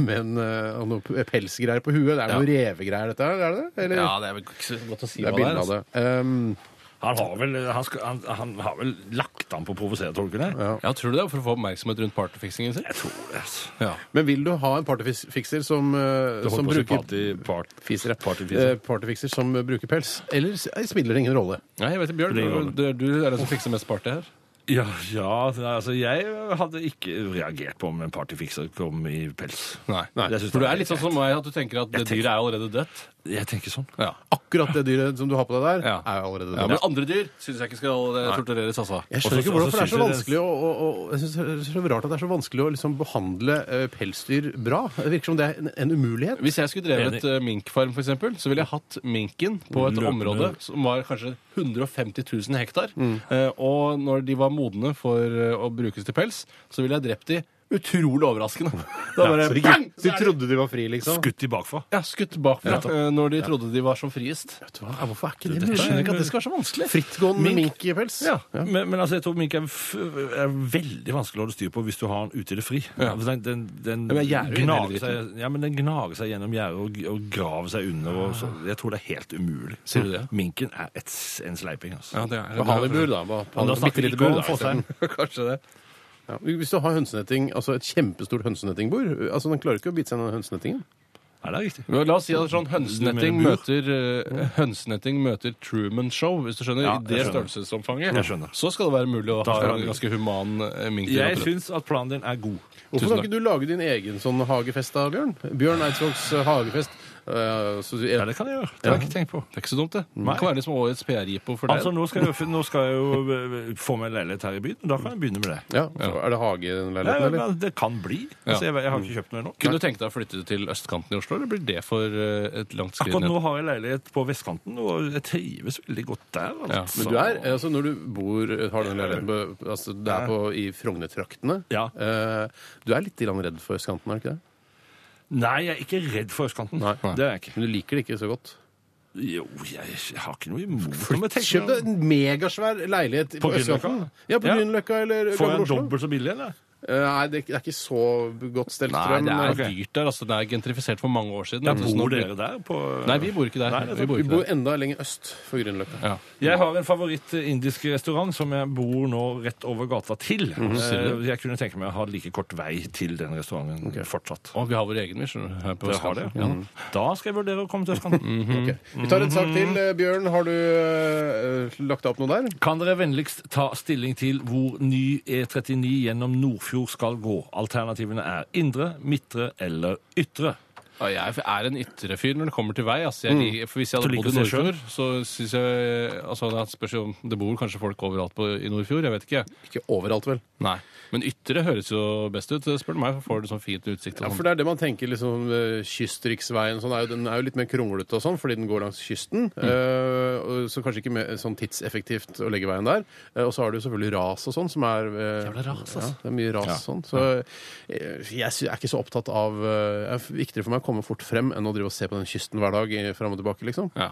S1: Med en, eh, og noe pelsgreier på huet. Det er noe revegreier, dette her? Er det det? Eller?
S2: Ja, det er vel ikke så godt å si
S1: det er
S2: hva det er.
S1: bilde av
S2: Altså.
S1: det. Um,
S3: Han har vel, han skal, han, han har vel lagt an på å provosere tolkene?
S2: Ja, tror du det? For å få oppmerksomhet rundt partyfiksingen sin?
S3: Jeg tror det. altså.
S2: Ja.
S1: men vil du ha en partyfikser som, eh,
S3: Det
S1: som
S3: holdt på å si
S1: bruker
S3: party- part-
S1: Fiser, ja.
S3: partyfiser.
S1: Eh, partyfikser som eh, bruker pels? Eller s- eh, spiller det ingen rolle?
S2: Nei, jeg vet ikke,
S3: Det er jo
S2: Bjørn.
S3: godt.
S2: Du, du er den som fikser mest party her.
S3: Ja, ja, altså jeg hadde ikke reagert på om en partyfikser kom i pels.
S2: Nei.
S3: Jeg synes
S2: For du er
S3: det er
S2: litt sånn som meg, at du tenker at det dyret er allerede dødt.
S3: Jeg tenker sånn.
S2: Ja.
S1: Akkurat det dyret som du har på deg der,
S2: Ja.
S1: er jo allerede
S2: Ja,
S1: der.
S2: men andre dyr syns jeg ikke skal eh, tortureres, altså.
S1: Jeg skjønner
S3: Også-
S1: ikke hvordan,
S3: også
S1: for det er så
S3: synes jeg
S1: vanskelig å, å, å Jeg synes det er så rart at det er så vanskelig å liksom behandle eh, pelsdyr bra. Det virker som det er en, en umulighet.
S2: Hvis jeg skulle drevet eh, minkfarm, for eksempel, så ville jeg hatt minken på et
S3: Løpende.
S2: område som var kanskje 150 000 hektar. Eh, Og når de var modne for eh, å brukes til pels, så ville jeg drept de utrolig overraskende. Da bare
S1: Så
S2: bang!
S1: ikke-
S2: Så
S1: Du
S2: er de-
S1: trodde de var fri, liksom?
S3: Skutt i bakfra.
S2: Ja, skutt bakfra eh, når de trodde de var som friest.
S1: Vet du hva? Ja, Hvorfor er ikke det
S2: Jeg
S1: mulig?
S2: skjønner ikke at det skal være så vanskelig.
S1: Frittgående mink i pels?
S3: Ja, Men, men altså, jeg tror mink er, f er veldig vanskelig å holde styr på hvis du har den ute i det fri.
S2: Ja.
S3: Den, den, den,
S2: men jeg gjerder jo inn hele
S3: gnager seg, ja, men den gnager seg gjennom gjerdet og, og graver seg under. Og så, jeg tror det er helt umulig.
S2: Ah. Sier du det?
S3: Minken er et, s- en sleiping, altså.
S2: Ja, det er
S1: På Halibur, da. På, på
S3: Men da snakker vi
S1: bittelite
S3: ikke om
S1: bur, da,
S3: Fossheim.
S1: isteden.
S2: Kanskje det.
S1: Ja. Hvis du har hønsenetting, altså et kjempestort hønsenettingbord altså Den klarer ikke å bite seg gjennom hønsenettingen.
S3: Nei, det er riktig.
S2: Men La oss si at sånn hønsenetting
S3: Du mener bur?
S2: møter, eh, hønsenetting møter Truman Show, hvis du skjønner.
S3: Ja,
S2: I
S3: jeg
S2: det
S3: skjønner.
S2: størrelsesomfanget.
S3: Jeg skjønner.
S2: Så skal det være mulig å ha
S3: skal
S2: en
S3: det-
S2: ganske human eh, mink. til
S3: Jeg
S2: rådighet.
S3: syns at planen din er god.
S1: Hvorfor
S2: Tusen
S1: kan ikke du lage din egen sånn hagefest da, Bjørn? Bjørn Eidsvågs eh, hagefest. Eh, så, du-
S3: Ja, det kan jeg gjøre. Det har jeg ikke tenkt på.
S2: Det er ikke så dumt, det. Det kan være liksom årets PR-jippo for deg.
S3: Altså, nå skal, jeg, jo- nå skal jeg jo eh, få meg en leilighet her i byen, og da kan jeg begynne med det.
S1: ja, så er det hage i den
S3: Ja,
S1: leiligheten, eller?
S3: men det kan bli.
S2: Ja.
S3: Altså, jeg, jeg har ikke kjøpt noe ennå.
S2: Kunne du tenke deg å flytte til østkanten i Oslo, eller blir det for eh, et langt skritt
S3: Akkurat
S2: ned?
S3: nå har jeg leilighet på vestkanten, og jeg trives veldig godt der. Altså.
S1: Men du er, altså når du bor, har den leiligheten på, altså det er på, i Frogner-traktene
S3: Ja.
S1: eh, Du er litt grann redd for østkanten, er du ikke det?
S3: Nei, jeg er ikke redd for østkanten.
S1: Nei.
S3: Det er jeg ikke.
S1: Men du liker det ikke så godt.
S3: Jo, jeg, jeg har ikke noe imot det. men tenk
S1: Kjøp deg en megasvær leilighet på,
S3: På
S1: østkanten.
S3: Grünerløkka?
S1: Ja, på
S3: Ja.
S1: Grünerløkka eller
S3: Får jeg
S1: Gamle
S3: den
S1: Oslo.
S3: dobbelt så billig, eller?
S1: Eh, Nei, det er ikke- det er ikke så godt stelt,
S2: Nei,
S1: tror jeg.
S2: det
S1: men- eh,
S2: er dyrt der. altså. Det er gentrifisert for mange år siden.
S3: Ja,
S2: Så nå
S3: bor
S2: blir-
S3: dere der? På...
S2: Mm. Nei, vi bor ikke der.
S3: Nei, det er
S2: vi bor
S1: Vi
S2: ikke
S1: bor
S2: der.
S1: enda lenger øst for Grünerløkka.
S2: Ja.
S3: Jeg har en favoritt-indisk restaurant som jeg bor nå rett over gata til. Eh, Jeg kunne tenke meg å ha like kort vei til den restauranten fortsatt.
S2: Og vi har vår egen, vi. skjønner du, her på
S3: Dere har det?
S2: Østkanten. Ja.
S3: Da skal jeg vurdere å komme til østkanten.
S1: Ok. Vi tar en sak til. eh, Bjørn, har du eh, lagt deg opp noe der?
S3: Kan dere vennligst ta stilling til hvor ny E39 gjennom Nordfjord skal gå? Alternativene er indre, midtre eller ytre.
S2: Ja, jeg er en ytre fyr når det kommer til vei. Altså,
S1: Mm.
S2: jeg, liker- for hvis jeg
S3: Du
S2: hadde
S3: liker
S2: bodd i
S3: å se
S2: Nordfjord, så syns jeg altså, Det spørs jo om det bor kanskje folk overalt på, i Nordfjord. Jeg vet ikke.
S1: Ikke overalt, vel?
S2: Nei. Men ytre høres jo best ut, spør du meg. for Får du sånn fint utsikt
S1: Ja,
S2: og
S1: for
S2: sånn.
S1: det er det man tenker, liksom eh, Kystriksveien sånn er jo, den er jo litt mer kronglete og sånn, fordi den går langs kysten. eh, og så kanskje ikke mer, sånn tidseffektivt å legge veien der. Eh, og så har du jo selvfølgelig ras og sånn, som er eh,
S2: Jævla ras, ass.
S1: Ja, det er mye ras og sånn. Så eh, jeg sy- er ikke så opptatt av eh, Det er viktigere for meg å komme fort frem enn å drive og se på den kysten hver dag eh, fram og tilbake, liksom.
S2: Ja.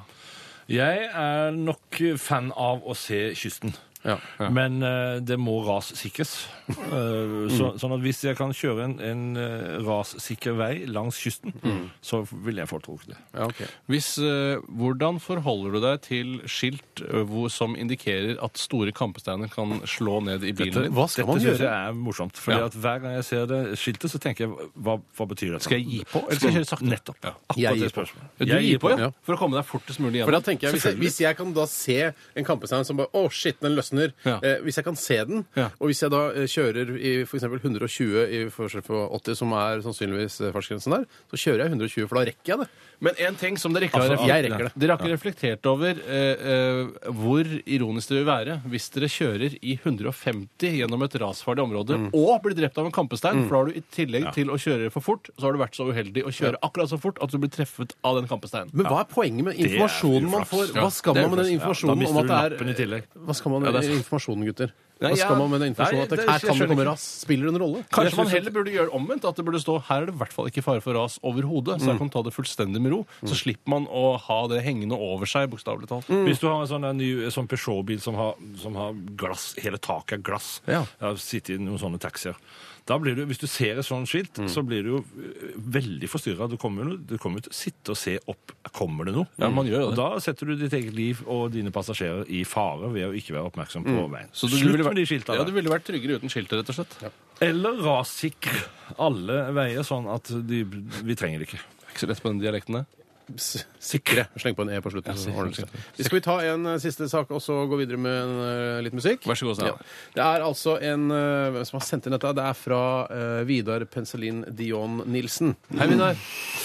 S3: Jeg er nok fan av å se kysten.
S1: Ja.
S3: Men eh, det må rassikres. Eh,
S2: Mm.
S3: så, sånn at hvis jeg kan kjøre en, en eh, rassikker vei langs kysten,
S2: Mm.
S3: så vil jeg foretrukke det.
S1: Ja, ok.
S2: Hvis, eh, hvordan forholder du deg til skilt eh, hvor, som indikerer at store kampesteiner kan slå ned i bilen din?
S1: hva skal man
S3: Dette synes
S1: gjøre?
S3: jeg er morsomt. Fordi
S2: Ja.
S3: at Hver gang jeg ser det skiltet, så tenker jeg hva, hva betyr dette?
S2: Skal jeg gi på, eller skal jeg kjøre sakte?
S3: Nettopp.
S2: Ja.
S3: Akkurat
S1: Jeg
S3: det
S1: gir på.
S3: spørsmålet.
S2: Du
S3: Jeg
S2: gir på, ja.
S1: ja.
S2: For å komme deg fortest mulig
S1: For da
S2: gjennom.
S1: tenker jeg, hvis jeg, hvis jeg kan da se en kampestein som bare Å, shit, den løsner.
S2: Ja.
S1: Eh, hvis jeg kan se den,
S2: Ja.
S1: og hvis jeg da eh, kjører i f.eks. 120 i forskjell på 80, som er sannsynligvis eh, fartsgrensen der, så kjører jeg 120, for da rekker jeg det.
S2: Men en ting som dere ikke har
S1: Altså, jeg
S2: reflektert,
S1: rekker det.
S2: dere har ikke reflektert over eh, eh, hvor ironisk det vil være hvis dere kjører i 150 gjennom et rasfarlig område og blir drept av en kampestein, for da har du i tillegg til å kjøre for fort, så har du vært så uheldig å kjøre akkurat så fort at du blir treffet av den kampesteinen.
S1: Men hva er poenget med informasjonen man
S3: uflaks.
S1: får?
S3: Ja,
S1: Hva skal
S3: det er
S1: man med den
S3: uflaks. Ja, da
S1: informasjonen
S3: mister
S1: om at
S3: du
S1: det
S3: lappen i tillegg.
S1: er Hva skal man med
S2: Ja, det er
S1: den informasjonen, gutter?
S2: Nei,
S1: Hva
S2: ja.
S1: skal man med den
S3: Nei,
S1: informasjonen at
S3: det-
S1: det, her
S3: jeg
S1: kan det
S3: skjønner
S1: komme
S3: ikke.
S1: ras? Spiller det en rolle?
S2: Kanskje man heller burde gjøre omvendt, at det burde stå her er det i hvert fall ikke fare for ras overhodet, så her kan man ta det fullstendig med ro. Så slipper man å ha det hengende over seg, bokstavelig talt.
S3: Hvis du har en sånn, en ny sånn Peugeot-bil som, har- som har glass, hele taket er glass
S1: Ja.
S3: Jeg har sittet i noen sånne taxier. Da blir du, hvis du ser et sånt skilt,
S2: Mm.
S3: så blir du jo eh, veldig forstyrra. Du kommer jo du kommer jo til å sitte og se opp. Kommer det noe?
S2: Ja, man gjør jo det.
S3: Og da setter du ditt eget liv og dine passasjerer i fare ved å ikke være oppmerksom på veien.
S2: Mm. Så du
S3: Slutt
S2: ville vært-
S3: med de skilta
S2: Ja,
S3: der.
S2: du ville vært tryggere uten skiltet, rett og slett.
S3: Eller rassikre alle veier, sånn at de, vi trenger det ikke.
S2: Ikke så lett på den dialekten, det.
S1: S- Sikre. Sleng på en E på slutten. så ordner det seg. Vi skal vi ta en eh, siste sak og så gå videre med en, eh, litt musikk?
S2: Vær så god, Steinar.
S1: Det er altså en eh, Hvem som har sendt inn dette? Det er fra eh, Vidar Penselin Dion Nilsen.
S2: Hei, Vidar.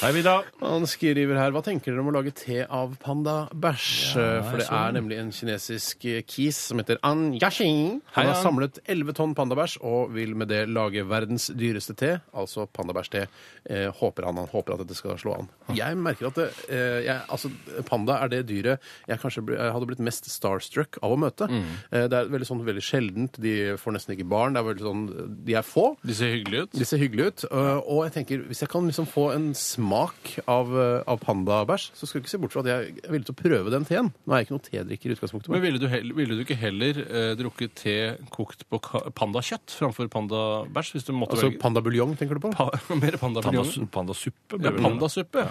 S3: Hei, Vidar.
S1: Han skriver her Hva tenker dere om å lage te av pandabæsj? Eh, For det er nemlig en kinesisk eh, kis som heter An Yashing.
S2: Hei,
S1: Han har
S2: An.
S1: samlet 11 tonn pandabæsj og vil med det lage verdens dyreste te, altså pandabæsjte. Eh, håper han, han håper at dette skal slå an. Jeg merker at det, eh, jeg, altså, panda er det dyret jeg kanskje ble, jeg hadde blitt mest starstruck av å møte. Eh, det er veldig, sånn, veldig sjeldent. De får nesten ikke barn. Det er veldig sånn, de er få.
S2: De ser hyggelige ut.
S1: De ser hyggelige ut. øh, Og jeg tenker, hvis jeg kan liksom få en smak av, øh, av pandabæsj, så skal du ikke se bort fra at jeg er villig til å prøve den teen. Nå er jeg ikke noen tedrikker i utgangspunktet.
S2: Men
S1: Men.
S2: ville du, hell- ville du ikke heller eh, drukket te kokt på ka- pandakjøtt framfor pandabæsj? Hvis du måtte
S1: Altså
S2: velge
S1: pandabuljong, tenker du på?
S2: pa mer pandabuljonger?
S3: Pandas- Pandasuppe.
S2: Ja,
S3: blir det vel?
S2: pandasuppe.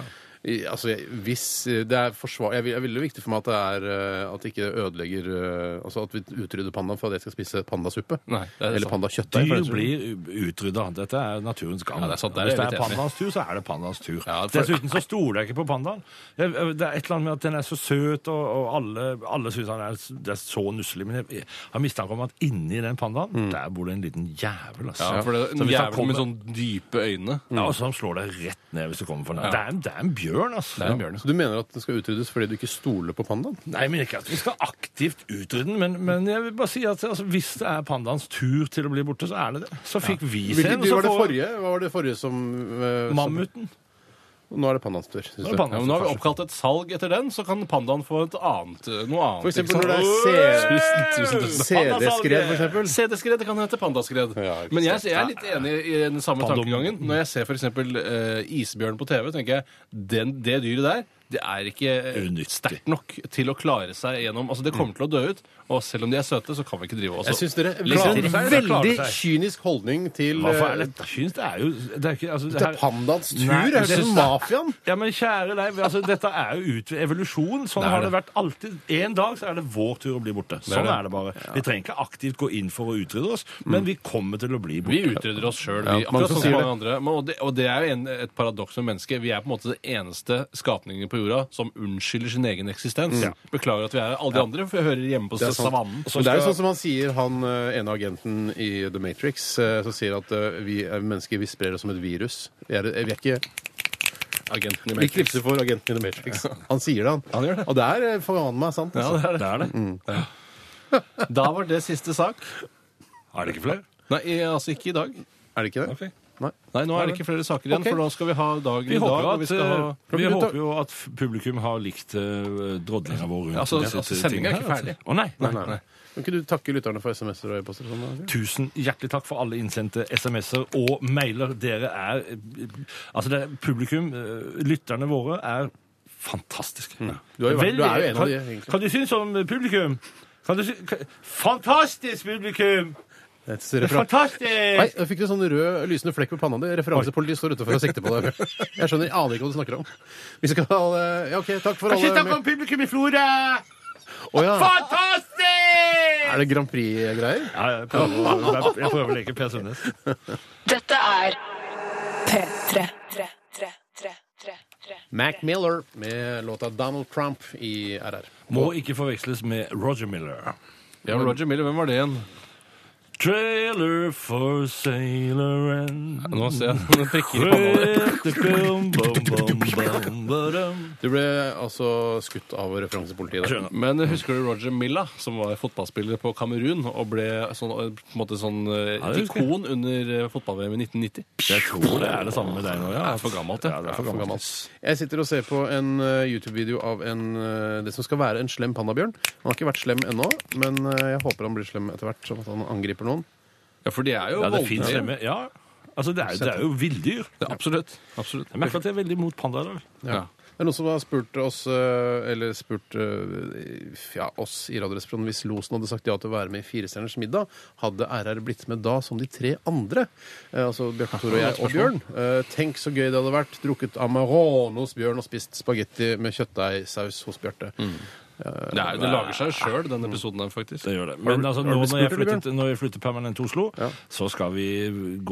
S1: I- Altså, jeg, hvis øh, det er forsvar... Jeg vil, det er veldig viktig for meg at det er øh, at det ikke ødelegger øh, Altså at vi utrydder pandaen for at jeg skal spise pandasuppe.
S2: Nei, det er
S1: Eller
S2: sant.
S1: pandakjøtt. da, for
S3: Dyr
S1: den saks skyld.
S3: blir utrydda. Dette er naturens gang.
S2: Ja, det er sant. Der er
S3: Hvis
S2: jeg
S3: det
S2: litt
S3: er
S2: enig.
S3: pandaens tur, så er det pandaens tur.
S2: Ja, for-
S3: Dessuten så stoler jeg ikke på pandaen. Jeg, jeg- det er et eller annet med at den er så søt, og, og alle, alle syns han er, det er så nusselig. Men jeg, jeg har mistanke om at inni den pandaen, der bor det en liten jævel. Altså.
S2: Mm. Ja, for det er
S3: Så
S2: en
S3: hvis han
S2: jævel med
S3: kommer-
S2: sånn dype øyne.
S3: ja, og så han slår deg rett ned hvis du kommer for nær.
S2: Ja.
S3: Det, er en- det er en bjørn, altså.
S2: Det er en bjørn.
S1: Så du mener at den skal utryddes fordi du ikke stoler på pandaen?
S3: Nei, men ikke at vi skal aktivt utrydde den, men, men jeg vil bare si at altså, hvis det er pandaens tur til å bli borte, så er det det. Så fikk vi se
S1: Hvilket
S3: den,
S1: dyr
S3: så
S1: var det
S3: får-
S1: forrige? Hva var det forrige som øh,
S3: Mammuten.
S1: som- Nå er det pandaens tur. synes
S3: Nå er
S1: du?
S3: det pandaens
S2: Ja, men nå har vi oppkalt et salg etter den, så kan pandaen få et annet, eh, noe annet.
S1: For eksempel
S2: ikke
S1: når
S2: sant?
S1: det
S2: Tusen,
S1: er
S2: tusen, tusen.
S1: CD-skred, for eksempel.
S2: CD-skred det kan hete pandaskred.
S1: Ja, ikke
S2: Men jeg, jeg er litt enig i den samme eh,
S3: Pandom.
S2: tankegangen. Når jeg ser f.eks. Uh, isbjørn på TV, tenker jeg den, det dyret der det er ikke
S3: Unyttig.
S2: sterkt nok til å klare seg gjennom Altså, det kommer til å dø ut, og selv om de er søte, så kan vi ikke drive oss
S1: Mm.
S2: liksom,
S1: Jeg syns dere
S2: Klarer
S1: klarer
S2: det
S1: en
S2: seg,
S3: eller klarer
S1: sånn veldig
S3: det seg?
S1: kynisk holdning til,
S3: Hva for er
S1: eh,
S3: det? Jeg synes det er jo det er ikke, altså, det
S1: til
S3: her-
S1: pandaens tur.
S3: Nei,
S1: er det
S3: jeg
S1: som
S3: synes
S1: mafiaen?
S3: Ja, men kjære deg, altså, dette er jo ut evolusjon. Sånn
S2: Det er
S3: har det
S2: det.
S3: vært alltid. En dag så er det vår tur å bli borte. Sånn
S2: det.
S3: er det bare. Vi trenger ikke aktivt gå inn for å utrydde oss, men vi kommer til å bli
S2: Vi
S3: borte.
S2: utrydder oss sjøl,
S1: Ja,
S2: vi.
S1: mange
S2: akkurat
S1: som
S2: som
S1: sier
S2: mange andre. Men, og, det, og det er jo en, et paradoks med mennesket. Vi er på en måte det eneste skapningen på jorda som unnskylder sin egen eksistens. Beklager at vi er her. Alle de andre for jeg hører hjemme på savannen.
S1: Men det er jo sånn som han sier, han eh, ene agenten i The Matrix, eh, som sier at eh, vi er mennesker vi sprer oss som et virus. Vi er, vi er ikke
S2: Agenten i
S1: Vi
S2: Matrix.
S1: knipser for agenten i The Matrix. Han sier det, han.
S2: Han gjør det.
S1: Og det er eh, faen meg sant.
S2: Ja,
S1: altså.
S2: det er det.
S3: Det Mm. er det.
S2: Da var det siste sak.
S3: Er det ikke flere?
S2: Nei, i- altså ikke i dag.
S1: Er det ikke det?
S3: Ok.
S1: Nei.
S2: Nei, nå er det ikke flere saker igjen,
S1: Ok.
S2: for nå skal vi ha dagen
S3: Vi
S2: i dag.
S3: håper,
S2: og
S3: at,
S2: vi skal ha...
S3: eh, vi
S1: Kan vi ta-
S3: håper jo at f- publikum har likt uh, drodlinga vår rundt.
S2: Altså,
S3: disse
S2: altså, sendingen er
S3: tingene
S2: ikke
S3: her,
S2: ferdig.
S3: altså. Å nei, nei,
S1: Nei.
S3: nei.
S1: Kan ikke du takke lytterne for SMS-er og e-poster? og Sånn, da?
S3: Tusen hjertelig takk for alle innsendte SMS-er og mailer. Dere er eh, Altså, det er publikum, eh, lytterne våre, er fantastiske.
S1: Mm. Du har jo vært-
S3: Veldig-
S1: du er jo en av
S3: kan-
S1: de, egentlig.
S3: Kan du synes om publikum? Kan du sy kan, fantastisk publikum!
S1: Et
S3: Det er
S1: referat-
S3: fantastisk!
S1: Nei, da fikk du sånn rød lysende flekk på panna di. Referansepolitiet står utenfor og sikter på deg. Jeg skjønner, jeg aner ikke hva du snakker om. Vi skal eh, Ja, OK, takk for
S3: Kanskje
S1: alle
S3: snakke om publikum i Florø!
S1: Å ja.
S3: Fantastisk!
S1: Er det Grand Prix-greier?
S3: Ja, jeg prøver, å- jeg prøver å leke Per Sundnes.
S5: Dette er P3. 3, 3, 3, 3, 3.
S1: Mac Miller med låta Donald Trump i RR.
S3: Må ikke forveksles med Roger Miller.
S2: Ja, Roger Miller, hvem var det igjen?
S3: Trailer for sailor and
S2: Nå ser jeg noen prikker i panna.
S3: Nei,
S1: Du ble altså skutt av referansepolitiet. der.
S2: Men husker du Roger Milla, som var fotballspiller på Kamerun og ble sånn, på en måte sånn eh,
S3: Ja, det husker jeg.
S2: ikon under eh, fotball-VM i 1990?
S3: Jeg tror det er det samme med deg nå, ja.
S2: Det er for gammelt, det.
S3: Ja, det er for
S1: For gammel.
S3: gammelt.
S1: Jeg sitter og ser på en eh, YouTube-video av en, eh, det som skal være en slem pandabjørn. Han har ikke vært slem ennå, men eh, jeg håper han blir slem etter hvert, sånn at han angriper noen.
S2: Ja, for de er jo
S3: Ja, det finnes
S2: voldelige.
S3: hjemme. Ja. Altså, det er, det er jo villdyr.
S2: Ja, Absolutt. absolutt.
S3: Jeg merker at jeg er veldig mot panda i dag.
S2: Ja.
S1: Det er noen som har spurt oss, eh, eller spurt eh, ja, oss i Radioresepsjonen hvis Losen hadde sagt ja til å være med i Firestjerners middag, hadde RR blitt med da som de tre andre? Eh, Altså Bjarte Tore og jeg og Bjørn. Eh, Tenk så gøy det hadde vært. Drukket Amarone hos Bjørn og spist spagetti med kjøttdeigsaus hos Bjarte.
S2: Det, er, det lager seg sjøl, den episoden der, faktisk.
S3: Det gjør det. Men altså,
S1: har du
S3: nå
S1: blitt
S3: når jeg,
S1: spurt, eller,
S3: flyttet, når jeg flytter permanent til Oslo, så skal vi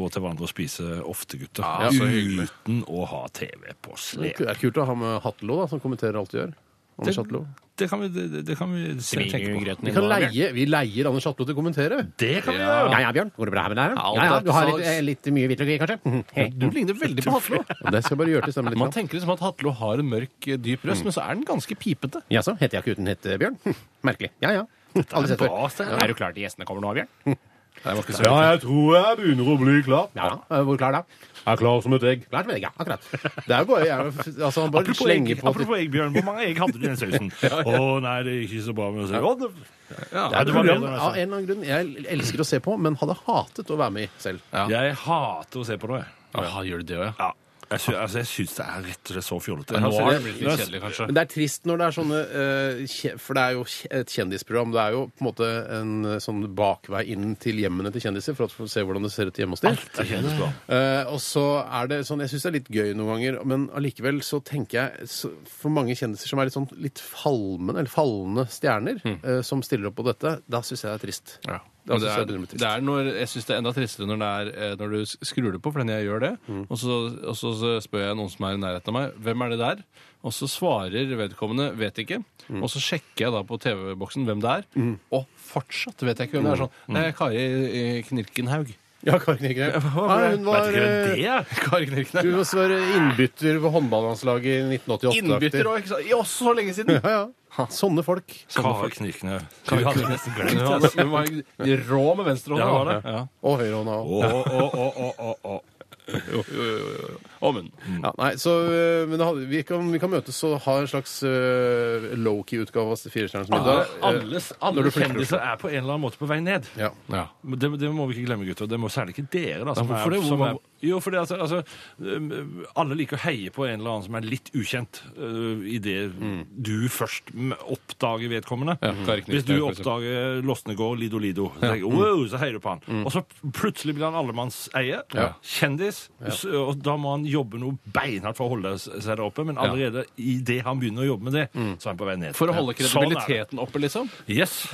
S3: gå til hverandre og spise ofte, gutter.
S2: Ja, så hyggelig.
S3: Uten å ha TV på
S1: Det
S3: slep.
S1: er kult å ha med Hatlo, da, som kommenterer alt du gjør. Anders Hatlo.
S3: Det kan vi, det, det kan vi se- tenke på.
S1: Vi, kan leie, vi leier Anders Hatlo til å kommentere.
S3: Det kan vi
S2: Ja.
S3: gjøre!
S1: Ja ja, Bjørn. Går det bra her med deg?
S2: Ja,
S1: Ja Mhm. ja, du har
S2: alt er
S1: litt,
S2: salgs.
S1: eh, litt mye hvitløk i, kanskje? Hei.
S2: Du ligner veldig på Hatlo.
S1: Det skal jeg bare gjøre til stemmen litt.
S2: Man
S1: grann.
S2: tenker liksom at Hatlo har en mørk, eh, dyp
S3: Mm.
S2: røst, men så er den ganske pipete.
S1: Jaså, heter jeg ikke uten hette, Bjørn? Hm, Merkelig. Ja ja. Aldri sett før.
S3: Bra, Stein.
S2: Er du klar til gjestene kommer nå, Bjørn? Det var ikke så
S1: Ja, jeg tror jeg begynner å bli klar. Ja, eh, Hvor klar da? Jeg er klar som et egg. Klar som et egg, ja, akkurat. Det er jo bare, jeg, altså, Han bare
S3: Apropos egg,
S1: slenger på
S3: apropos egg, Bjørn. Hvor mange egg hadde du i den sausen? Å nei, det gikk ikke så bra med å si Å, det-
S1: Det er et
S3: var bedre
S1: program
S3: enn jeg
S1: av en eller annen grunn jeg elsker å se på, men hadde hatet å være med i selv.
S2: Ja.
S3: Jeg hater å se på det. jeg.
S2: Ah, gjør du det òg, ja?
S3: Ja. Jeg, sy altså, jeg syns det er rett og slett så fjollete.
S2: Nå
S1: ser
S2: har
S1: jeg-
S2: det blitt litt kjedelig, kanskje.
S1: Men det er trist når det er sånne eh, kje- For det er jo kje- et kjendisprogram. Det er jo på en måte en eh, sånn bakvei inn til hjemmene til kjendiser, for å se hvordan det ser ut hjemme hos dem.
S3: Det kjennes bra.
S1: Eh, og så er det sånn, Jeg syns det er litt gøy noen ganger, men allikevel så tenker jeg så, For mange kjendiser som er litt sånn litt falmende, eller falne stjerner, eh, som stiller opp på dette, da syns jeg det er trist.
S2: Mm. Ja.
S1: Da
S2: Men
S3: altså
S2: Det
S1: synes jeg
S2: er,
S1: det begynner å bli
S2: det er når, jeg syns det er enda tristere når, det er, eh, når du s- skrur det på, for den jeg gjør det,
S3: Mm.
S2: og, så, og så spør jeg noen som er i nærheten av meg, hvem er det der? Og så svarer vedkommende vet ikke,
S3: Mm.
S2: og så sjekker jeg da på TV-boksen hvem det er, og fortsatt vet jeg ikke hvem det er.
S3: Mm.
S2: Sånn, det er Kari eh, Knirkenhaug.
S1: Ja, Karin Egre. Nei, hun
S3: Vet
S1: var
S3: ikke hvem det
S1: eh,
S3: er.
S2: Kari
S1: Du
S2: Knirkenhaug.
S1: var innbytter ved håndballandslaget i 1988.
S2: Innbytter òg, ikke sant? Ja, Også så lenge siden!
S1: Ja, ja. Sånne folk.
S3: Kari Knikne.
S2: Kari
S3: Hun hadde nesten glemt
S2: Hun
S3: det.
S2: var- hun var rå med venstrehånda.
S3: Ja, var det?
S2: Ja.
S1: Og høyrehånda òg.
S3: Å, å, å, å, å, å.
S2: Jo, jo, jo, jo. og munn.
S1: Ja, nei, så, øh, men det hadde, vi, kan, vi kan møtes og ha en slags øh, low-key-utgave av Firestjerners middag. Eh,
S3: Alle,
S1: Når
S3: alle,
S1: du
S3: alle
S1: flytter
S3: kjendiser er på en eller annen måte på vei ned.
S1: Ja.
S2: Ja.
S3: Men Det, det må vi ikke glemme, gutter. Det må særlig ikke dere. da. Som
S2: hvorfor
S3: er,
S2: det?
S3: Som
S2: Hvor-
S3: er, jo, fordi altså, altså um, Alle liker å heie på en eller annen som er litt ukjent, uh, idet
S1: Mm.
S3: du først m- oppdager vedkommende.
S2: Ja, Kari Knutsen,
S3: Hvis du
S2: for eksempel.
S3: oppdager Losnegård Lido Lido, så, tenker, jeg, wow, så heier du på han.
S1: Mm.
S3: Og så plutselig blir han allemannseie.
S2: Ja.
S3: Kjendis. s- Og da må han jobbe noe beinhardt for å holde s- seg der oppe, men allerede i idet han begynner å jobbe med det,
S1: Mm.
S3: så er han på vei ned.
S2: For å holde
S3: Ja. Sånn er det.
S2: kredibiliteten oppe, liksom.
S3: Yes.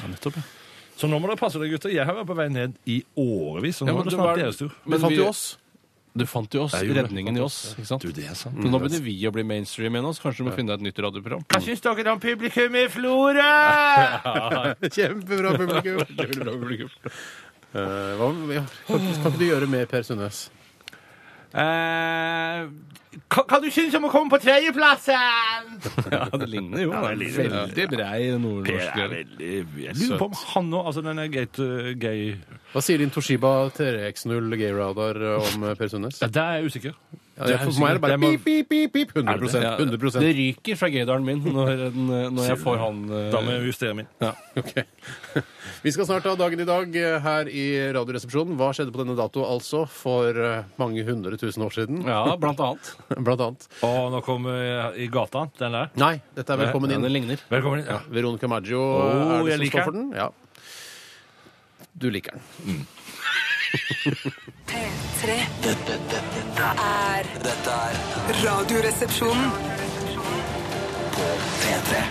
S3: Så nå må dere passe dere, gutter. Jeg har vært på vei ned i årevis. Så nå
S2: Ja, men
S3: er det
S2: det
S3: snart
S2: var-
S3: deres tur.
S1: Men
S2: Men
S1: fant
S2: vi-
S1: jo oss.
S2: Du fant jo oss.
S3: Jeg gjorde det.
S2: Redningen i oss. ikke sant?
S3: Du, det Mm. er sant.
S2: Så nå begynner vi å bli mainstream igjen. også. Kanskje du må finne deg et nytt radioprogram.
S3: Hva syns dere om publikum i Florø?
S1: Kjempebra publikum.
S2: Det blir bra publikum.
S1: Eh, hva, ja. kan, ikke- kan ikke du gjøre mer Per Sundnes?
S3: hva Eh, du syns om å komme på tredjeplassen?
S2: Ja, det ligner jo.
S3: Ja, det ligner.
S2: Veldig brei
S3: Per
S2: nordnorsk.
S3: er veldig Jeg lurer på om han òg Altså denne gate- gay...
S1: Hva sier din Toshiba 3X0 gay radar om eh, Per Sundnes?
S3: Ja, der er jeg usikker.
S1: Ja, jeg- for meg er det bare
S3: Jeg må-
S1: pip, pip, pip, pip.
S2: Ja,
S1: 100
S2: Det
S1: 100
S2: ryker fra gaydaren min når, den, når jeg får han eh,
S3: Da må jeg justere min.
S1: Ok. Vi skal snart ta dagen i dag eh, her i Radioresepsjonen. Hva skjedde på denne dato, altså, for eh, mange hundre tusen år siden?
S2: Ja, blant annet.
S1: Blant annet.
S3: Og nå kommer jeg i gata, den der.
S1: Nei, dette er velkommen
S2: Ja,
S1: inn.
S2: det ligner.
S3: Velkommen inn. Ja.
S1: Veronica Maggio
S3: Åh,
S1: er det
S3: jeg
S1: som
S3: liker
S1: står for den. Ja. Du liker den.
S5: P3
S4: Dette, dette, dette,
S5: er
S4: dette er
S5: Radioresepsjonen.
S4: P3.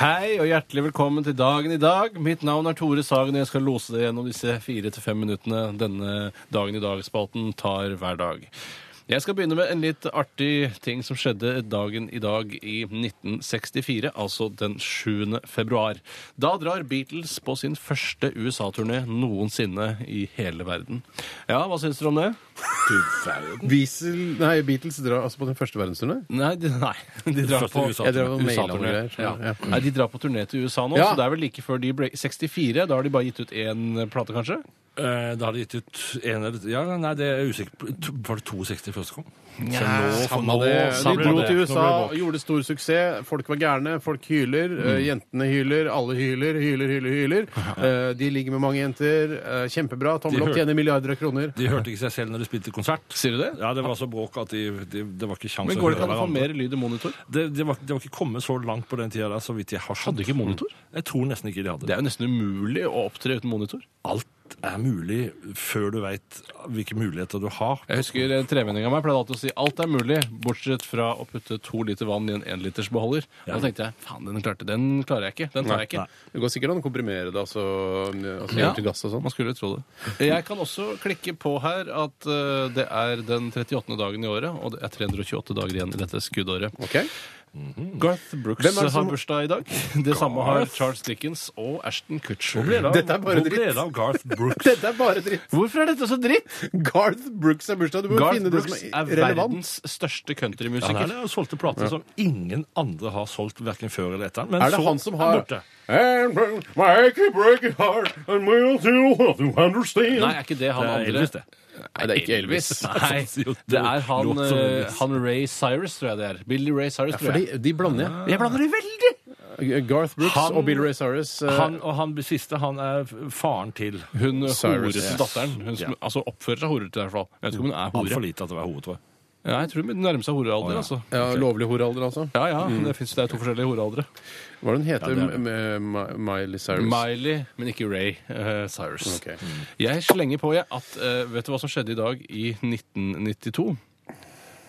S2: Hei og hjertelig velkommen til dagen i dag. Mitt navn er Tore Sagen, og jeg skal lose deg gjennom disse fire til fem minuttene denne Dagen i dag-spalten tar hver dag. Jeg skal begynne med en litt artig ting som skjedde dagen i dag i 1964, altså den 7. februar. Da drar Beatles på sin første USA-turné noensinne i hele verden. Ja, hva syns dere om det?
S1: Beasel, nei, Beatles drar altså på den første verdensturné.
S2: Nei, de, nei. de drar
S3: Første
S2: på
S3: USA-turné.
S1: Jeg drev og maila noen
S2: USA-turné.
S1: greier, skjønner
S2: Ja.
S1: jeg. Ja.
S2: Nei, De drar på turné til USA nå,
S1: Ja.
S2: så det er vel like før de ble 64. Da har de bare gitt ut én plate, kanskje?
S3: Eh, Da har de gitt ut en eller Ja, nei, det er jeg usikker på. To- Var det 62 første gang? Så nå, for nå
S1: De
S3: samler
S1: dro
S3: det.
S1: til
S3: Nå
S1: USA,
S3: blir det Mm. bråk.
S1: gjorde stor suksess. Folk var gærne, folk hyler. eh, Jentene hyler, alle hyler, hyler, hyler. hyler. Eh, de ligger med mange jenter. eh, kjempebra. Tommel
S3: De
S1: opp,
S3: hør-
S1: tjener milliarder av kroner.
S3: De hørte ikke seg selv når de spilte konsert.
S2: Sier du det?
S3: Ja, Det var så bråk at de, de, det var ikke kjangs
S2: Men
S3: å
S2: går det
S3: høre
S2: ikke an å få
S3: hverandre.
S2: mer lyd i monitor?
S3: Det, det, var, det var ikke kommet så langt på den tida der, så vidt jeg har skjønt.
S2: Hadde ikke monitor?
S3: Jeg tror nesten ikke de hadde
S2: Det er jo nesten umulig å opptre uten monitor.
S3: Alt er mulig før du veit hvilke muligheter du har.
S2: Jeg husker en tremenning av meg pleide alltid å si alt er mulig, bortsett fra å putte to liter vann i en enlitersbeholder. Og da tenkte jeg faen, den klarte Den klarer jeg ikke. Den tar jeg ikke.
S1: Det går sikkert an å komprimere det, altså, altså
S2: Ja.
S1: gjøre til gass og sånn.
S2: Man skulle tro det. Jeg kan også klikke på her at eh, det er den 38. dagen i året, og det er 328 dager igjen i dette skuddåret.
S1: Ok.
S3: Mm.
S2: Garth Brooks
S1: Hvem er det som-
S2: har bursdag i dag. Det samme har Charles Dickens og Ashton Kutcher.
S3: Ble det av-
S1: Dette er bare
S3: hvor ble
S1: dritt.
S3: det av Garth Brooks?
S1: Dette er bare dritt.
S2: Hvorfor er dette så dritt?
S1: Garth Brooks er bursdag. Du må
S2: Garth
S1: finne det som
S2: Brooks
S1: er
S2: er
S1: relevant.
S2: verdens største
S3: Ja, han
S2: countrymusiker.
S3: har jo solgt plater som ingen andre har solgt, verken før eller etter. Men
S1: Er det
S3: så
S1: han som har
S3: borte.
S1: And my achy breaky heart and we'll do you understand.
S2: Nei, er ikke det han
S3: Det er
S2: andre?
S3: Elvis, det.
S1: Nei, det er ikke Elvis.
S2: Nei, det er han,
S3: Låt som
S2: eh,
S3: Elvis.
S2: han Ray Cyrus, tror jeg det er. Billy Ray Cyrus, tror jeg.
S1: Fordi de blander jeg.
S2: Jeg blander det veldig!
S1: Garth Brooks
S3: Han-
S1: og Bill Ray Cyrus. eh,
S3: Han og han siste, han er faren til
S2: Hun
S1: Cyrus,
S2: horete
S1: yes.
S2: datteren. Hun som,
S3: Ja.
S2: altså oppfører seg horete, i hvert fall. Jeg vet ikke om hun er
S3: Altfor
S2: hore.
S3: lite til å være hore, tror jeg.
S2: Ja, jeg tror hun nærmer seg horealder, altså.
S1: ja, lovlig horalder, altså.
S2: Ja ja, det, finnes, det er to forskjellige horealdre.
S1: Hva er det hun heter?
S3: Ja, det er det.
S1: M- M- Miley Cyrus.
S2: Miley, men ikke Ray eh, Cyrus.
S1: Ok.
S2: Jeg slenger på jeg, at eh, Vet du hva som skjedde i dag i 1992?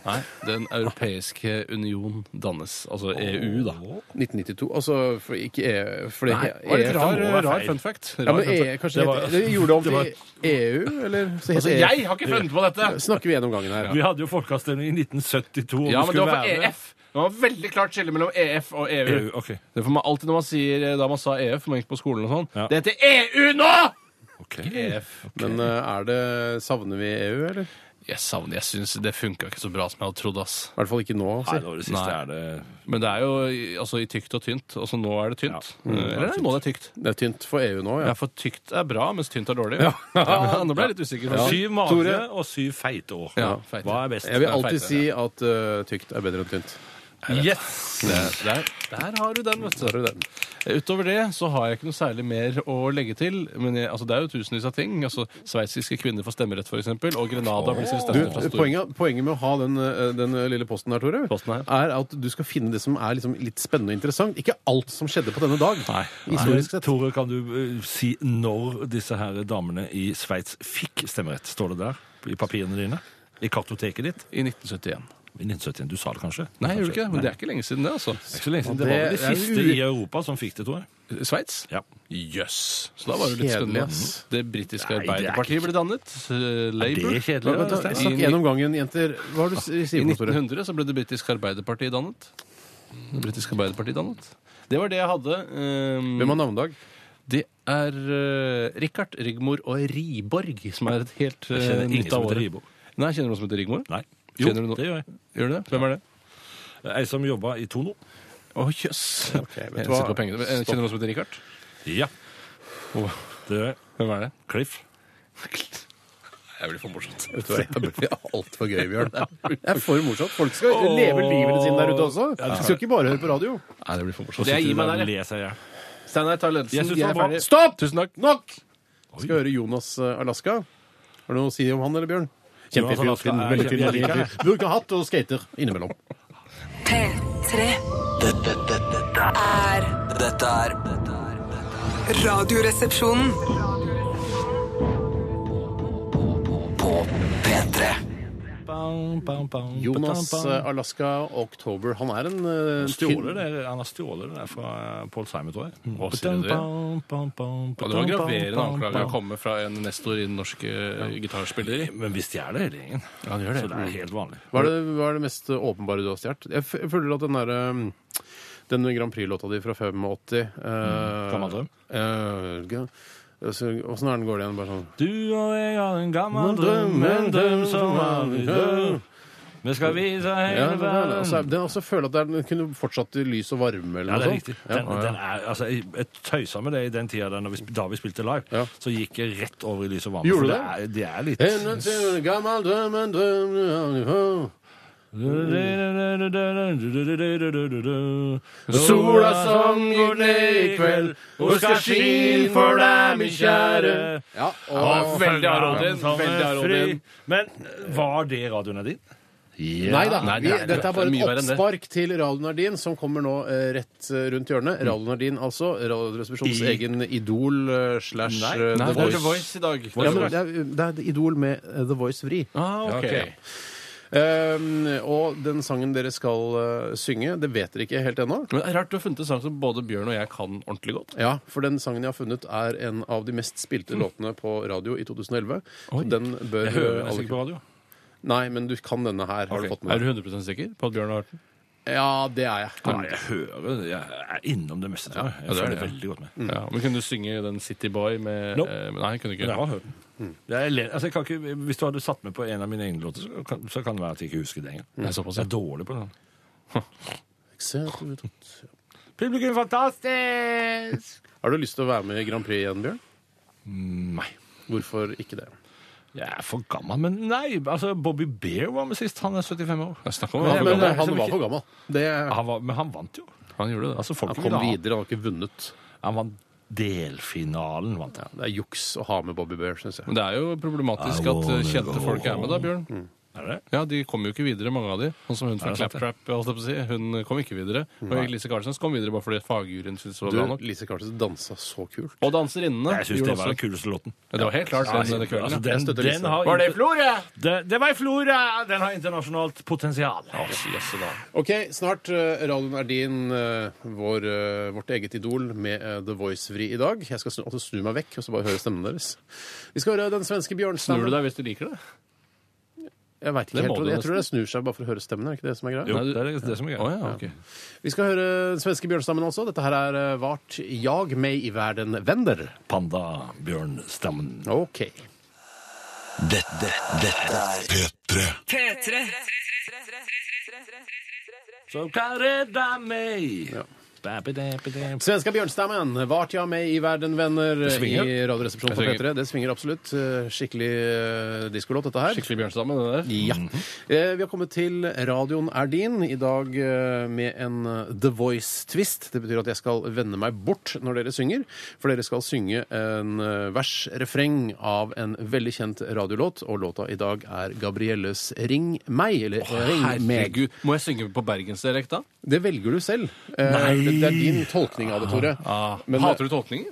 S2: Nei, Den europeiske union dannes. Altså EU, da.
S1: 1992. Altså, for ikke E... For det,
S2: var det
S1: E-
S2: et rar,
S3: må være
S2: rar
S3: feil.
S2: fun fact? Rar
S1: ja, men
S2: fun fact.
S1: e, kanskje
S3: Det
S1: det,
S3: var-
S1: heter, det gjorde om til
S3: det var-
S1: EU, eller? Så heter
S2: altså,
S1: E-
S2: jeg har ikke funnet på dette!
S1: Snakker vi gjennom gangen her.
S3: Vi hadde jo folkeavstemning i 1972 om
S2: Ja, men det
S3: det skulle
S2: var for E
S3: være E
S2: EF. Det var veldig klart skille mellom EF og E EU.
S3: EU, Eh, ok.
S2: E Det får man alltid når man sier eh, da man sa EF, man gikk på skolen og sånn.
S3: Ja.
S2: Det heter EU nå! E EF.
S1: Men eh, er det Savner vi EU, eller? I
S2: Jeg savner Jeg syns det funka ikke så bra som jeg hadde trodd, ass.
S1: hvert fall ikke nå. altså. Si.
S3: Nei, nå i det siste
S2: Nei.
S3: er det
S2: Men det er jo i- altså, i tykt og tynt. Altså nå er det tynt.
S3: Ja. Mm.
S2: Eh, Eller er det nå det er tykt?
S1: Det er tynt for EU nå,
S2: Ja,
S1: ja.
S2: for tykt er bra, mens tynt er dårlig. Ja, Nå ble jeg litt usikker. faktisk.
S3: Syv magre
S1: Tore?
S3: og syv feite år.
S2: Ja, feite.
S3: Hva er best?
S1: Jeg vil
S2: Det er
S1: alltid
S2: feite,
S1: si at eh, tykt er bedre enn tynt.
S3: Yes!
S2: Der, der, der har du den, vet du. Eh,
S1: Der er den.
S2: Utover det så har jeg ikke noe særlig mer å legge til. Men jeg, altså, det er jo tusenvis av ting. Altså, Sveitsiske kvinner får stemmerett, f.eks. Og Grenada blir
S1: Du,
S2: selvstendig fra Storbritannia.
S1: poenget, poenget med å ha den, eh, den lille posten her, Tore,
S2: Posten her.
S1: er at du skal finne det som er liksom litt spennende og interessant. Ikke alt som skjedde på denne dag.
S2: Nei.
S1: Historisk sett.
S3: Tore, kan du eh, si når disse her damene i Sveits fikk stemmerett? Står det der i papirene dine? I kartoteket ditt?
S2: I 1971.
S3: I 1971. Du sa det kanskje?
S2: Nei, jeg gjorde
S3: Kanskje.
S2: ikke det. Men det er ikke lenge siden, det. altså.
S3: Det er ikke så lenge
S1: Og
S3: siden. Det var
S1: det
S3: vel de
S1: er
S3: siste
S1: uri-
S3: i Europa som fikk det, tror jeg.
S2: Sveits?
S3: Ja.
S2: Jøss. Så da var det litt
S1: Kjedelig,
S2: spennende.
S1: ass.
S2: Det britiske
S3: Nei, det er
S2: arbeiderpartiet ble dannet. eh, Labour.
S3: det er kjedelig,
S1: Men, vent, da,
S2: I,
S1: Snakk
S2: ni-
S1: én om gangen, jenter. Hva er det du s-
S2: I
S1: sier for noe, Tore?
S2: 1900 så ble det britiske arbeiderpartiet dannet. Det britiske arbeiderpartiet dannet. Det var det jeg hadde. ehm,
S1: Hvem har navnedag?
S2: det er eh, Richard, Rigmor og Riborg, som er et helt eh,
S3: Jeg kjenner ingen
S2: nytt av
S3: som heter
S2: året.
S3: Riborg.
S2: Nei, kjenner du noen som heter Rigmor?
S3: Nei. Jo,
S2: Kjenner du noe?
S3: det gjør jeg.
S2: Gjør du det? Hvem er det?
S3: Ei som jobba i Tono.
S2: Å, jøss!
S1: vet du
S2: Jeg
S1: hva?
S2: sitter på pengene. Eh, Kjenner du noen som heter Richard?
S3: Ja. Det gjør jeg.
S2: Hvem er det?
S3: Cliff.
S2: Jeg blir for morsomt.
S1: Vet du hva, Det blir altfor gøy, Bjørn. Det er for morsomt. Folk skal leve livene sine der ute også. De skal ikke bare høre på radio.
S2: Nei, det blir for morsomt. Jeg
S3: Sitter
S2: gir meg der,
S3: og
S2: jeg.
S3: leser, jeg.
S2: Steinar tar
S3: Jeg
S2: ledelsen. Jeg
S3: synes det
S2: er
S3: var bra.
S2: ferdig.
S1: Stopp!
S2: Tusen takk.
S1: Nok! Vi skal høre Jonas eh, Alaska. Har du noe å si om han eller Bjørn? Kjempefin.
S3: Jonas Alaska er
S1: veldig fin,
S3: kjempe-
S1: veldig
S3: jeg liker
S1: fin. Bruker hatt og skater innimellom.
S5: P3
S4: Dette, dette, dette er
S5: er
S4: Dette er dette er-
S5: Radioresepsjonen.
S4: På P3
S3: Bam, bam, bam,
S1: Jonas
S3: ba-dam,
S1: eh,
S3: bam.
S1: Alaska October. Han er en eh,
S3: Stjålet det, han har stjålet det der fra eh, Paul Simon, tror jeg. Og
S2: sier du det? Ja, det var en graverende anklage å komme fra en nestor i den norske eh, gitarspilleri.
S3: Men vi stjeler hele gjengen.
S2: Ja, det gjør det.
S3: Så det er helt vanlig.
S1: Hva er, det, hva er det mest åpenbare du har stjålet? Jeg f- jeg føler at den derre den Grand Prix-låta di fra 85 eh,
S3: Gammel drøm.
S1: eh, ga- altså, Åssen er den går det igjen? Bare sånn
S3: Du og jeg har en gammel drøm, en drøm som aldri dør. Vi skal vise
S1: ja,
S3: hele
S1: den, er- altså,
S3: verden.
S1: den, altså, jeg føler at den kunne fortsatt i lys og varme eller noe
S3: Ja, det er
S1: sånt.
S3: riktig. Den, den er, altså, jeg jeg tøysa med det i den tida da, når vi sp- da vi spilte live.
S1: Ja.
S3: Så gikk jeg rett over i lys og varme.
S1: Gjorde du
S3: for det? Er, det er litt
S1: Enda til en gammel drøm, en drøm
S3: Mm. Sola som går ned i kveld, hun skal skinne for deg, min kjære.
S1: Ja,
S2: Ja,
S1: og
S2: veldig Arodin. Veldig Arodin.
S3: Men eh, var det radioen din?
S1: Nei da.
S2: Nei,
S1: vi,
S2: det er-
S1: dette er bare
S2: det er mye verre
S1: et
S2: enn det.
S1: oppspark til Radio Nardin, som kommer nå eh, rett eh, rundt
S2: Mm.
S1: hjørnet. Radio Nardin, altså. Radioresepsjonens
S3: I-
S1: egen Idol eh, slash
S3: Nei,
S1: eh, The
S2: Nei, det er The
S1: Voice.
S2: Voice i dag.
S1: Ja, men det er, det er Idol med eh, The Voice-vri.
S2: Ah, ok.
S3: Ja, ok.
S1: Um, og den sangen dere skal eh, synge, det vet dere ikke helt ennå.
S2: Men det er Rart du har funnet en sang som både Bjørn og jeg kan ordentlig godt.
S1: Ja, for den sangen jeg har funnet, er en av de mest spilte låtene på radio i 2011. Så den bør
S3: Jeg hører
S1: eh,
S3: nesten ikke på radio.
S1: Nei, men du kan denne her. Har du fått
S2: Er
S1: med
S2: du
S1: deg?
S2: 100 sikker på at Bjørn har hørt den?
S1: Ja, det er jeg.
S3: Nei, jeg hører det. Jeg er innom det meste. tror jeg.
S2: ja,
S3: Jeg
S2: det er
S3: føler
S2: det, ja.
S3: veldig godt med.
S2: Ja, men Kunne du synge den City Boy med
S3: Nope.
S2: eh, Nei, kunne du
S3: Men
S2: ikke.
S3: jeg har hørt den. Jeg er le- altså, jeg kan ikke, hvis du hadde satt meg på en av mine egne låter, så kan, så kan det være at jeg ikke husker det engang.
S2: Det er såpass, ja.
S3: Jeg er dårlig på den.
S1: Har
S3: Publikum fantastisk!
S1: du lyst til å være med i Grand Prix igjen, Bjørn?
S3: Nei.
S1: Hvorfor ikke det?
S3: Jeg er for gammel, men nei. altså Bobby Bear var med sist. Han er 75 år.
S2: Jeg snakker om
S3: Men-
S2: han,
S1: Men,
S2: for gammel.
S3: er
S1: han
S3: liksom
S1: var
S3: ikke-
S1: for gammel. Det,
S3: Han var, men han vant jo.
S2: han gjorde det.
S3: Altså folk
S1: han
S3: ville
S1: kom
S3: ha-
S1: videre, han har ikke vunnet.
S3: Han vant delfinalen, vant han.
S1: Det er juks å ha med Bobby Bear, syns jeg.
S2: Men det er jo problematisk
S3: I
S2: at eh,
S3: wanna
S2: kjente
S3: go Mm.
S2: folk er med, da, Bjørn.
S3: Er det?
S2: Ja, De kom jo ikke videre, mange av de. Sånn som hun fra
S3: det sant,
S2: Claptrap. holdt jeg på å Si. Hun kom ikke videre. Og Lise Carlsen kom videre bare fordi fagjuryen syntes det var
S1: Du,
S2: bra nok.
S1: Lise Carlsen dansa så kult.
S2: Og danserinnene. gjorde
S3: Jeg syns det var
S2: også-
S3: den kuleste låten.
S2: Ja, det var helt klart den, den kvelden. ja.
S3: Altså, den,
S1: Jeg støtter
S3: den
S1: Lise.
S3: har,
S2: Var det i Florø?
S3: Det, det var i Flora! Den har internasjonalt potensial.
S1: OK, snart eh, radioen er din, eh, vår, eh, vårt eget idol, med eh, The Voice-vri i dag. Jeg skal snu, altså snu meg vekk og så bare høre stemmen deres. Vi skal høre den svenske
S2: Snur du
S1: bjørnstammen.
S2: deg hvis du liker det?
S1: Jeg vet ikke
S2: Det må
S1: helt, hva det-
S2: du
S1: jeg
S2: nesten.
S1: tror det snur seg bare for å høre stemmen. er det ikke det som er greia?
S3: Jo, det er det, det som er
S2: Å
S3: greia.
S2: ja, ok.
S1: Vi skal høre den svenske bjørnstammen også. Dette her er eh, Vart jag mig i världen vänder.
S3: Panda Bjørnstammen.
S1: Ok.
S4: Dette, dette er
S6: P3.
S3: Så kan redde meg!
S1: Ja.
S3: Ba-ba-da-ba-da.
S1: Svenska bjørnstammen, Vart jag mig i världen vänder
S2: Det svinger.
S1: i Radioresepsjonen på
S2: Det svinger.
S1: P3. Det svinger absolutt. Eh, Skikkelig eh, diskolåt, dette her.
S2: Skikkelig bjørnstamme, det der.
S1: Ja. Eh, Vi har kommet til Radioen er din, i dag eh, med en eh, The Voice-twist. Det betyr at jeg skal vende meg bort når dere synger, for dere skal synge en eh, vers-refreng av en veldig kjent radiolåt, og låta i dag er Gabrielles Ring meg, eller Ring meg.
S2: Herregud. Må jeg synge på bergensdialekt, da?
S1: Det velger du selv. Eh,
S3: Nei.
S1: Det det er din tolkning av det, Tore. Men,
S2: Ah, Hater du tolkninger?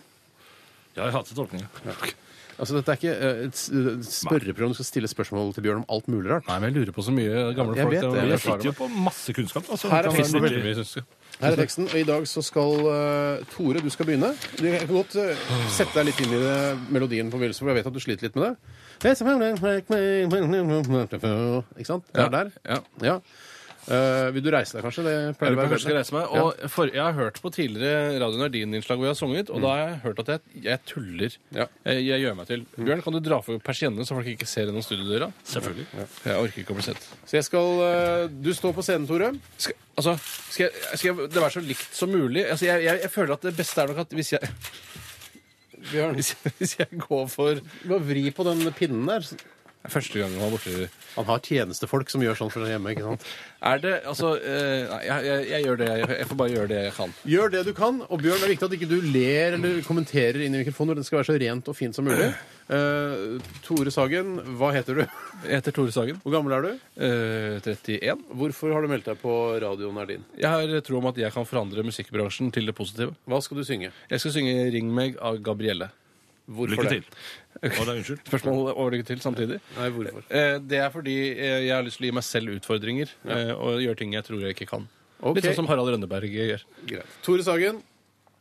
S3: Ja, jeg hater tolkninger.
S1: Altså, dette er ikke eh, et s- et spørreprogram du skal stille spørsmål til Bjørn om alt mulig rart.
S2: Nei, men jeg lurer på så mye gamle
S1: Jeg
S2: folk.
S1: vet
S2: det,
S1: det.
S2: er
S3: Jeg
S2: jeg
S3: sitter
S2: erfarer
S3: jo på masse kunnskap. Altså,
S1: Her er
S3: Kan
S2: med.
S1: finnes
S2: Det er
S3: være
S2: veldig
S3: veldig mye.
S2: mye, synes jeg.
S1: Her er teksten, og i dag så skal eh, Tore, du skal begynne. Du jeg kan godt eh, sette deg litt inn i det, melodien på begynnelsen, for jeg vet at du sliter litt med det. Ikke sant? Det er der.
S2: Ja.
S1: Ja. Eh, vil du reise deg, kanskje? Det pleier
S2: Jeg
S1: å være
S2: lurer på om jeg skal reise meg. Og for, jeg har hørt på tidligere Radio Nardin-innslag hvor jeg har sunget, og da har jeg hørt at jeg, jeg tuller.
S1: Ja.
S2: Jeg, jeg gjør meg til. Bjørn, kan du dra for persiennene så folk ikke ser gjennom studiodøra? Selvfølgelig. Jeg orker ikke å bli sett.
S1: Så jeg skal eh, Du står på scenen, Tore.
S2: Skal, altså, skal, jeg, skal jeg, det være så likt som mulig? Altså, jeg, jeg, jeg føler at det beste er nok at hvis jeg,
S1: Bjørn.
S2: hvis jeg, hvis jeg går for
S1: Bare vri på den pinnen der.
S2: Første gangen han var borti
S1: Han har tjenestefolk som gjør sånn for seg hjemme. ikke sant?
S2: Er det Altså, eh, nei, jeg, jeg, jeg gjør det jeg, jeg får bare gjøre det jeg kan.
S1: Gjør det du kan. Og Bjørn, det er viktig at ikke du ler eller kommenterer inn i mikrofonen. Det skal være så rent og fint som mulig. Eh, Tore Sagen, hva heter du?
S2: Jeg heter Tore Sagen.
S1: Hvor gammel er du?
S2: eh, 31.
S1: Hvorfor har du meldt deg på radioen er din?
S2: Jeg har tro om at jeg kan forandre musikkbransjen til det positive.
S1: Hva skal du synge?
S2: Jeg skal synge 'Ring meg' av Gabrielle.
S1: Hvorfor
S3: Lykke
S1: det?
S3: til. Å, det er unnskyld.
S2: Spørsmål og lykke til samtidig.
S1: Nei, hvorfor?
S2: Eh, Det er fordi eh, jeg har lyst til å gi meg selv utfordringer eh, og gjøre ting jeg tror jeg ikke kan.
S1: Ok.
S2: Litt sånn som Harald Rønneberg gjør.
S1: Greit. Tore Sagen,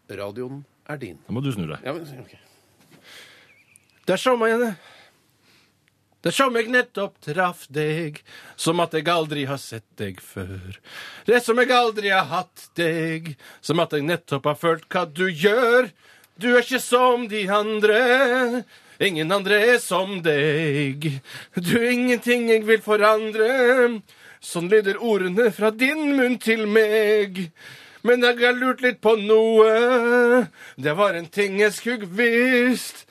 S1: radioen er din.
S3: Nå må du snu deg.
S1: Ja, men, ok.
S2: Det er som jeg Det er som jeg nettopp traff deg, som at jeg aldri har sett deg før. Det er som jeg aldri har hatt deg, som at jeg nettopp har følt hva du gjør. Du er ikke som de andre. Ingen andre er som deg. Du er ingenting jeg vil forandre. Sånn lyder ordene fra din munn til meg. Men jeg har lurt litt på noe. Det var en ting jeg skulle visst.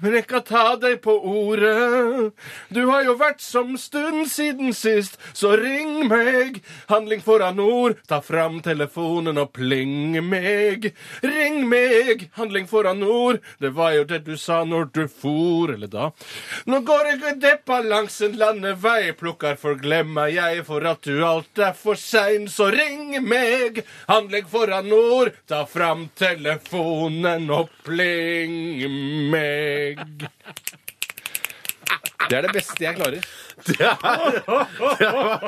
S2: Men jeg kan ta deg på ordet. Du har jo vært som stund siden sist, så ring meg. Handling foran ord, ta fram telefonen og pling meg. Ring meg, handling foran ord, det var jo det du sa når du for, eller da. Nå går jeg og depper langs en landevei, plukker forglemmer jeg for at du alt er for sein, så ring meg. Handling foran ord, ta fram telefonen og pling meg. Det er det beste jeg klarer.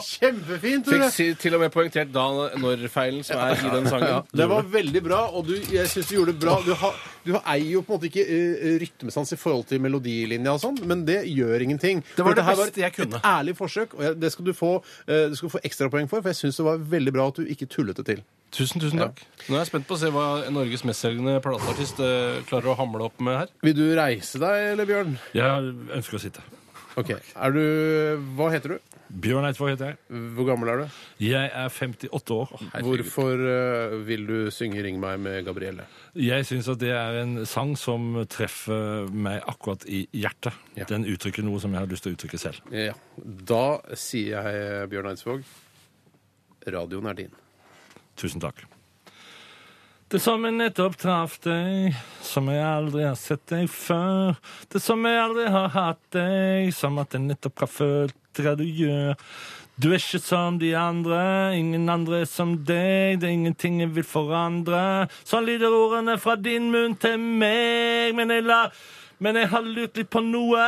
S1: Kjempefint,
S2: Fikk
S1: Tore!
S2: si- til og med poengtert da når-feilen som er i den
S1: Ja,
S2: sangen.
S1: det var veldig bra, og du, jeg syns du gjorde det bra. Du, har, du har- eier jo på en måte ikke eh, rytmesans i forhold til melodilinja og sånn, men det gjør ingenting.
S2: Det var
S1: For
S2: det
S1: her
S2: beste jeg kunne.
S1: Et ærlig forsøk, og jeg, det skal du få, eh, du skal få ekstrapoeng for, for jeg syns det var veldig bra at du ikke tullet det til.
S2: Tusen, tusen takk. Nå er jeg spent på å se hva Norges mestselgende plateartist eh, klarer å hamle opp med her.
S1: Vil du reise deg, eller Bjørn?
S3: Jeg ønsker å sitte.
S1: Ok, er du, Hva heter du?
S3: Bjørn Eidsvåg heter jeg.
S1: Hvor gammel er du?
S3: Jeg er 58 år.
S1: Hvorfor eh, vil du synge 'Ring meg' med Gabrielle?
S3: Jeg syns at det er en sang som treffer meg akkurat i hjertet.
S1: Ja.
S3: Den uttrykker noe som jeg har lyst til å uttrykke selv.
S1: Ja. Da sier jeg, Bjørn Eidsvåg, radioen er din.
S3: Tusen takk. Det som jeg nettopp traff deg, som jeg aldri har sett deg før. Det som jeg aldri har hatt deg, som at jeg nettopp har følt hva du gjør. Du er ikke som de andre, ingen andre er som deg, det er ingenting jeg vil forandre. Sånn lyder ordene fra din munn til meg, men jeg lar Men jeg har lurt litt på noe.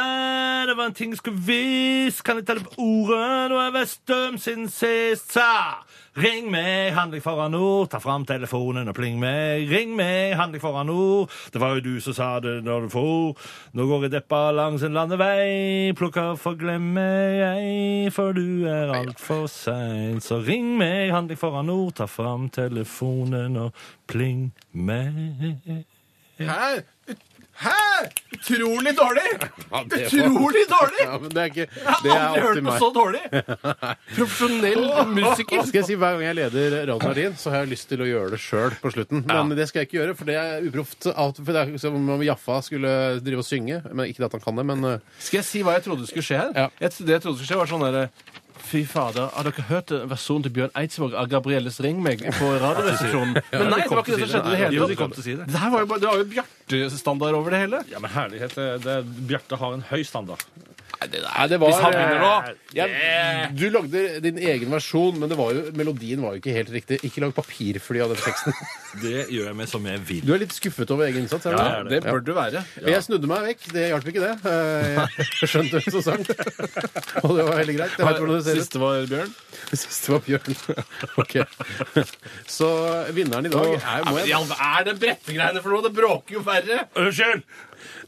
S3: Det var en ting jeg skulle vise. Kan jeg telle på ordet? Nå har jeg vært støm siden sist. Sa. Ring meg, handling foran ord. Ta fram telefonen og pling meg. Ring meg, handling foran ord. Det var jo du som sa det når du for. Nå går jeg deppa langs en landevei. Plukka for glemmer jeg, for du er altfor sein. Så ring meg, handling foran ord. Ta fram telefonen og pling meg.
S6: Hæ? Hæ? Utrolig dårlig!
S1: Ja, det var-
S6: Utrolig dårlig!
S1: Ja, men det er
S6: Jeg
S1: ikke det
S6: har
S1: er
S6: aldri hørt
S1: alltid
S6: noe
S1: meg.
S6: så dårlig.
S2: Profesjonell musiker.
S1: Skal jeg si Hver gang jeg leder Radio Verdien, så har jeg lyst til å gjøre det sjøl på slutten. Men det skal jeg ikke gjøre, for det er uproft. Alt- For det er som om Jaffa skulle drive og synge. Men Ikke at han kan det, men eh,
S2: Skal jeg si hva jeg trodde skulle skje her?
S1: Ja.
S2: Jeg, det jeg trodde skulle skje var sånn der Fy fader, har dere hørt versjonen til Bjørn Eidsvåg av Gabrielles Ring meg på radioresepsjonen? Men nei, det var ikke det som skjedde i det
S3: Jo,
S2: hele
S3: de kom
S2: tatt.
S3: til å si det.
S2: Det her var jo, bare- det var jo Bjarte-standard over det hele.
S3: Ja, men herlighet, det, det, Bjarte har en høy standard.
S1: Nei, det var
S2: Hvis han begynner nå
S1: jeg, Du lagde din egen versjon, men det var jo, melodien var jo ikke helt riktig. Ikke lag papirfly av den teksten.
S3: Det gjør jeg med som jeg vil.
S1: Du er litt skuffet over egen innsats? er du
S3: Ja,
S2: Det bør du være.
S1: Men Jeg snudde meg vekk. Det hjalp ikke, det. Eh, Jeg skjønte hvem som sang. Og det var veldig greit. Jeg vet hvordan det ser ut.
S2: Siste var Bjørn.
S1: Det siste var Bjørn. Ok. Så vinneren i dag er, må
S2: Men i
S1: jeg,
S2: all- Er det brettegreiene for noe? Det bråker jo verre.
S3: Unnskyld!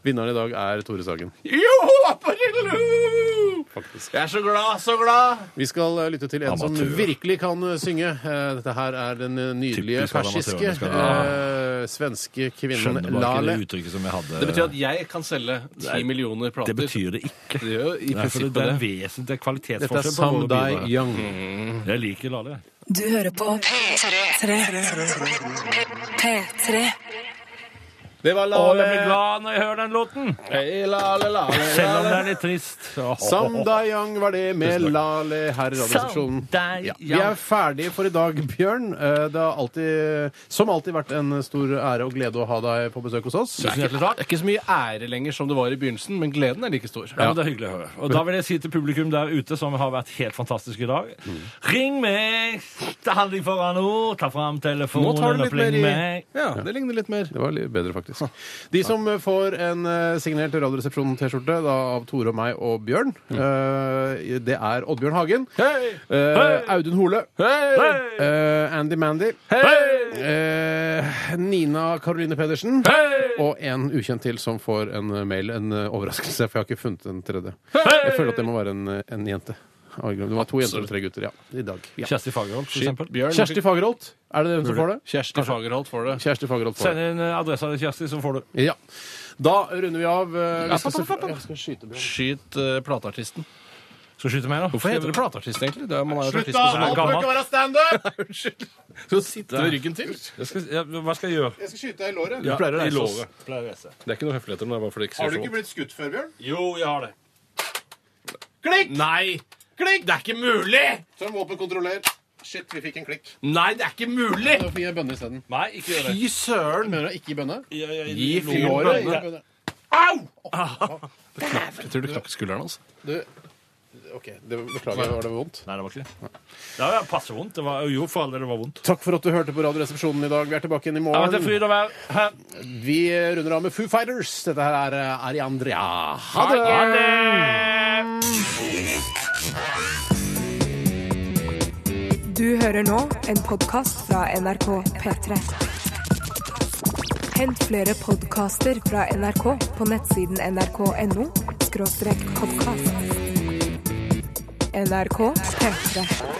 S1: vinneren i dag er Tore Sagen.
S2: Joho, apparillo! Jeg er så glad, så glad.
S1: Vi skal eh, lytte til en som
S3: Amatør.
S1: virkelig kan eh, synge. Eh, Dette her er den eh, nydelige
S3: Typisk at
S1: persiske
S3: amatørene skal-
S1: eh, svenske kvinnen
S3: Skjønner bare ikke
S1: Lale.
S3: det uttrykket som jeg hadde.
S2: Det betyr at jeg kan selge ti millioner plater.
S3: Det betyr det ikke.
S2: Det gjør jo i
S3: Nei, for det, det
S2: prinsippet
S3: er
S2: det.
S3: vesentlig det er
S1: Dette er
S3: kvalitetsforskjell på
S1: Sam
S3: våre
S1: Dai
S3: bidrag.
S1: Young.
S3: Jeg liker Lale.
S5: Du hører på P3. P3.
S1: Det var
S3: Å, jeg blir glad når jeg hører den låten!
S2: Hei, la, la, la, la,
S3: Selv om
S2: la.
S3: det er litt trist.
S1: Sam Dai Young var det med Lale her i Radioresepsjonen. Ja. Vi er ferdige for i dag, Bjørn. Eh, Det har alltid, som alltid vært en stor ære og glede å ha deg på besøk hos oss.
S2: Det er, ikke, det er ikke så mye ære lenger som det var i begynnelsen, men gleden er like stor.
S3: Ja, men Det er hyggelig å høre. Og da vil jeg si til publikum der ute, som har vært helt fantastisk i dag Ring meg! Det handler foran ord. Ta
S2: Nå
S3: fram
S2: tar
S3: telefonen
S2: du
S3: og
S2: litt mer
S3: pling
S2: i
S3: meg.
S2: Ja, det ligner litt mer.
S1: Det var litt bedre, faktisk. De som eh, får en eh, signert Radioresepsjonen-T-skjorte da av Tore og meg og Bjørn, eh, det er Oddbjørn Hagen.
S2: Mm. Hei!
S1: eh,
S3: Hei!
S1: Audun Hole.
S2: Hei!
S1: eh, Andy Mandy.
S2: Hei!
S1: eh, Nina Karoline Pedersen.
S2: Hei!
S1: Og en ukjent til som får en eh, mail. En eh, overraskelse, for jeg har ikke funnet en tredje.
S2: Hei!
S1: Jeg føler at det må være en, eh, en jente. Av en grunn. Det var to jenter og tre gutter, ja. I dag. Ja.
S3: Kjersti Fagerholt, for eksempel.
S2: Bjørn,
S1: Kjersti Fagerholt. Er det den som får det?
S2: Kjersti Fagerholt får det.
S1: Kjersti Fagerholt får
S3: Send inn eh, adressa di, Kjersti, så får du.
S1: det. Ja. Da runder vi av. eh, vi skal
S2: papp, papp,
S1: selvfø-
S2: papp.
S1: Jeg skal skyte Bjørn.
S2: Skyt eh, plateartisten.
S3: Skal du skyte meg, da?
S2: Hvorfor heter det plateartist, egentlig? Det er, man er jo artist
S3: Det
S2: som
S3: er
S2: er
S3: gammel.
S1: være standup!
S2: Skal du sitte med ryggen til?
S3: Jeg skal, ja, hva skal jeg gjøre?
S1: Jeg skal skyte deg i låret.
S3: Ja,
S2: pleier å
S3: i
S2: reise oss.
S3: låret. Pleier å reise.
S2: Det er ikke noe høfligheter, men det er bare fordi det ikke
S1: Har
S2: ser
S1: du
S2: så
S1: ikke
S2: vondt.
S1: blitt skutt før, Bjørn?
S3: Jo, jeg har det.
S1: Klikk!
S2: Nei!
S1: Klikk!
S2: Det er ikke mulig!
S1: Som våpenkontroller. Shit, vi fikk en klikk.
S2: Nei, det er ikke mulig!
S1: Da fikk jeg bønne isteden.
S3: Nei, ikke gjør det.
S2: Fy søren!
S1: Mener du ikke i bønne?
S3: Ja, ja, ja,
S2: Gi
S3: låret.
S2: I fyren
S1: Låret,
S3: bønne.
S1: ikke i bønne.
S2: Jeg tror du knakk skulderen hans.
S1: Du OK, det, beklager. Var det vondt?
S3: Nei, det var ikke det. Det var passe vondt. Det var, jo, for all del, det var vondt.
S1: Takk for at du hørte på Radioresepsjonen i dag. Vi er tilbake igjen i
S3: Ja, men det er
S1: morgen.
S3: fryd å være her.
S1: Vi runder av med Foo Fighters. Dette her er eh, Ariandria. Ha det!
S3: Ha det!
S7: Du hører nå en podkast fra NRK P3. Hent flere podkaster fra NRK på nettsiden nrk.no podkast. NRK P3.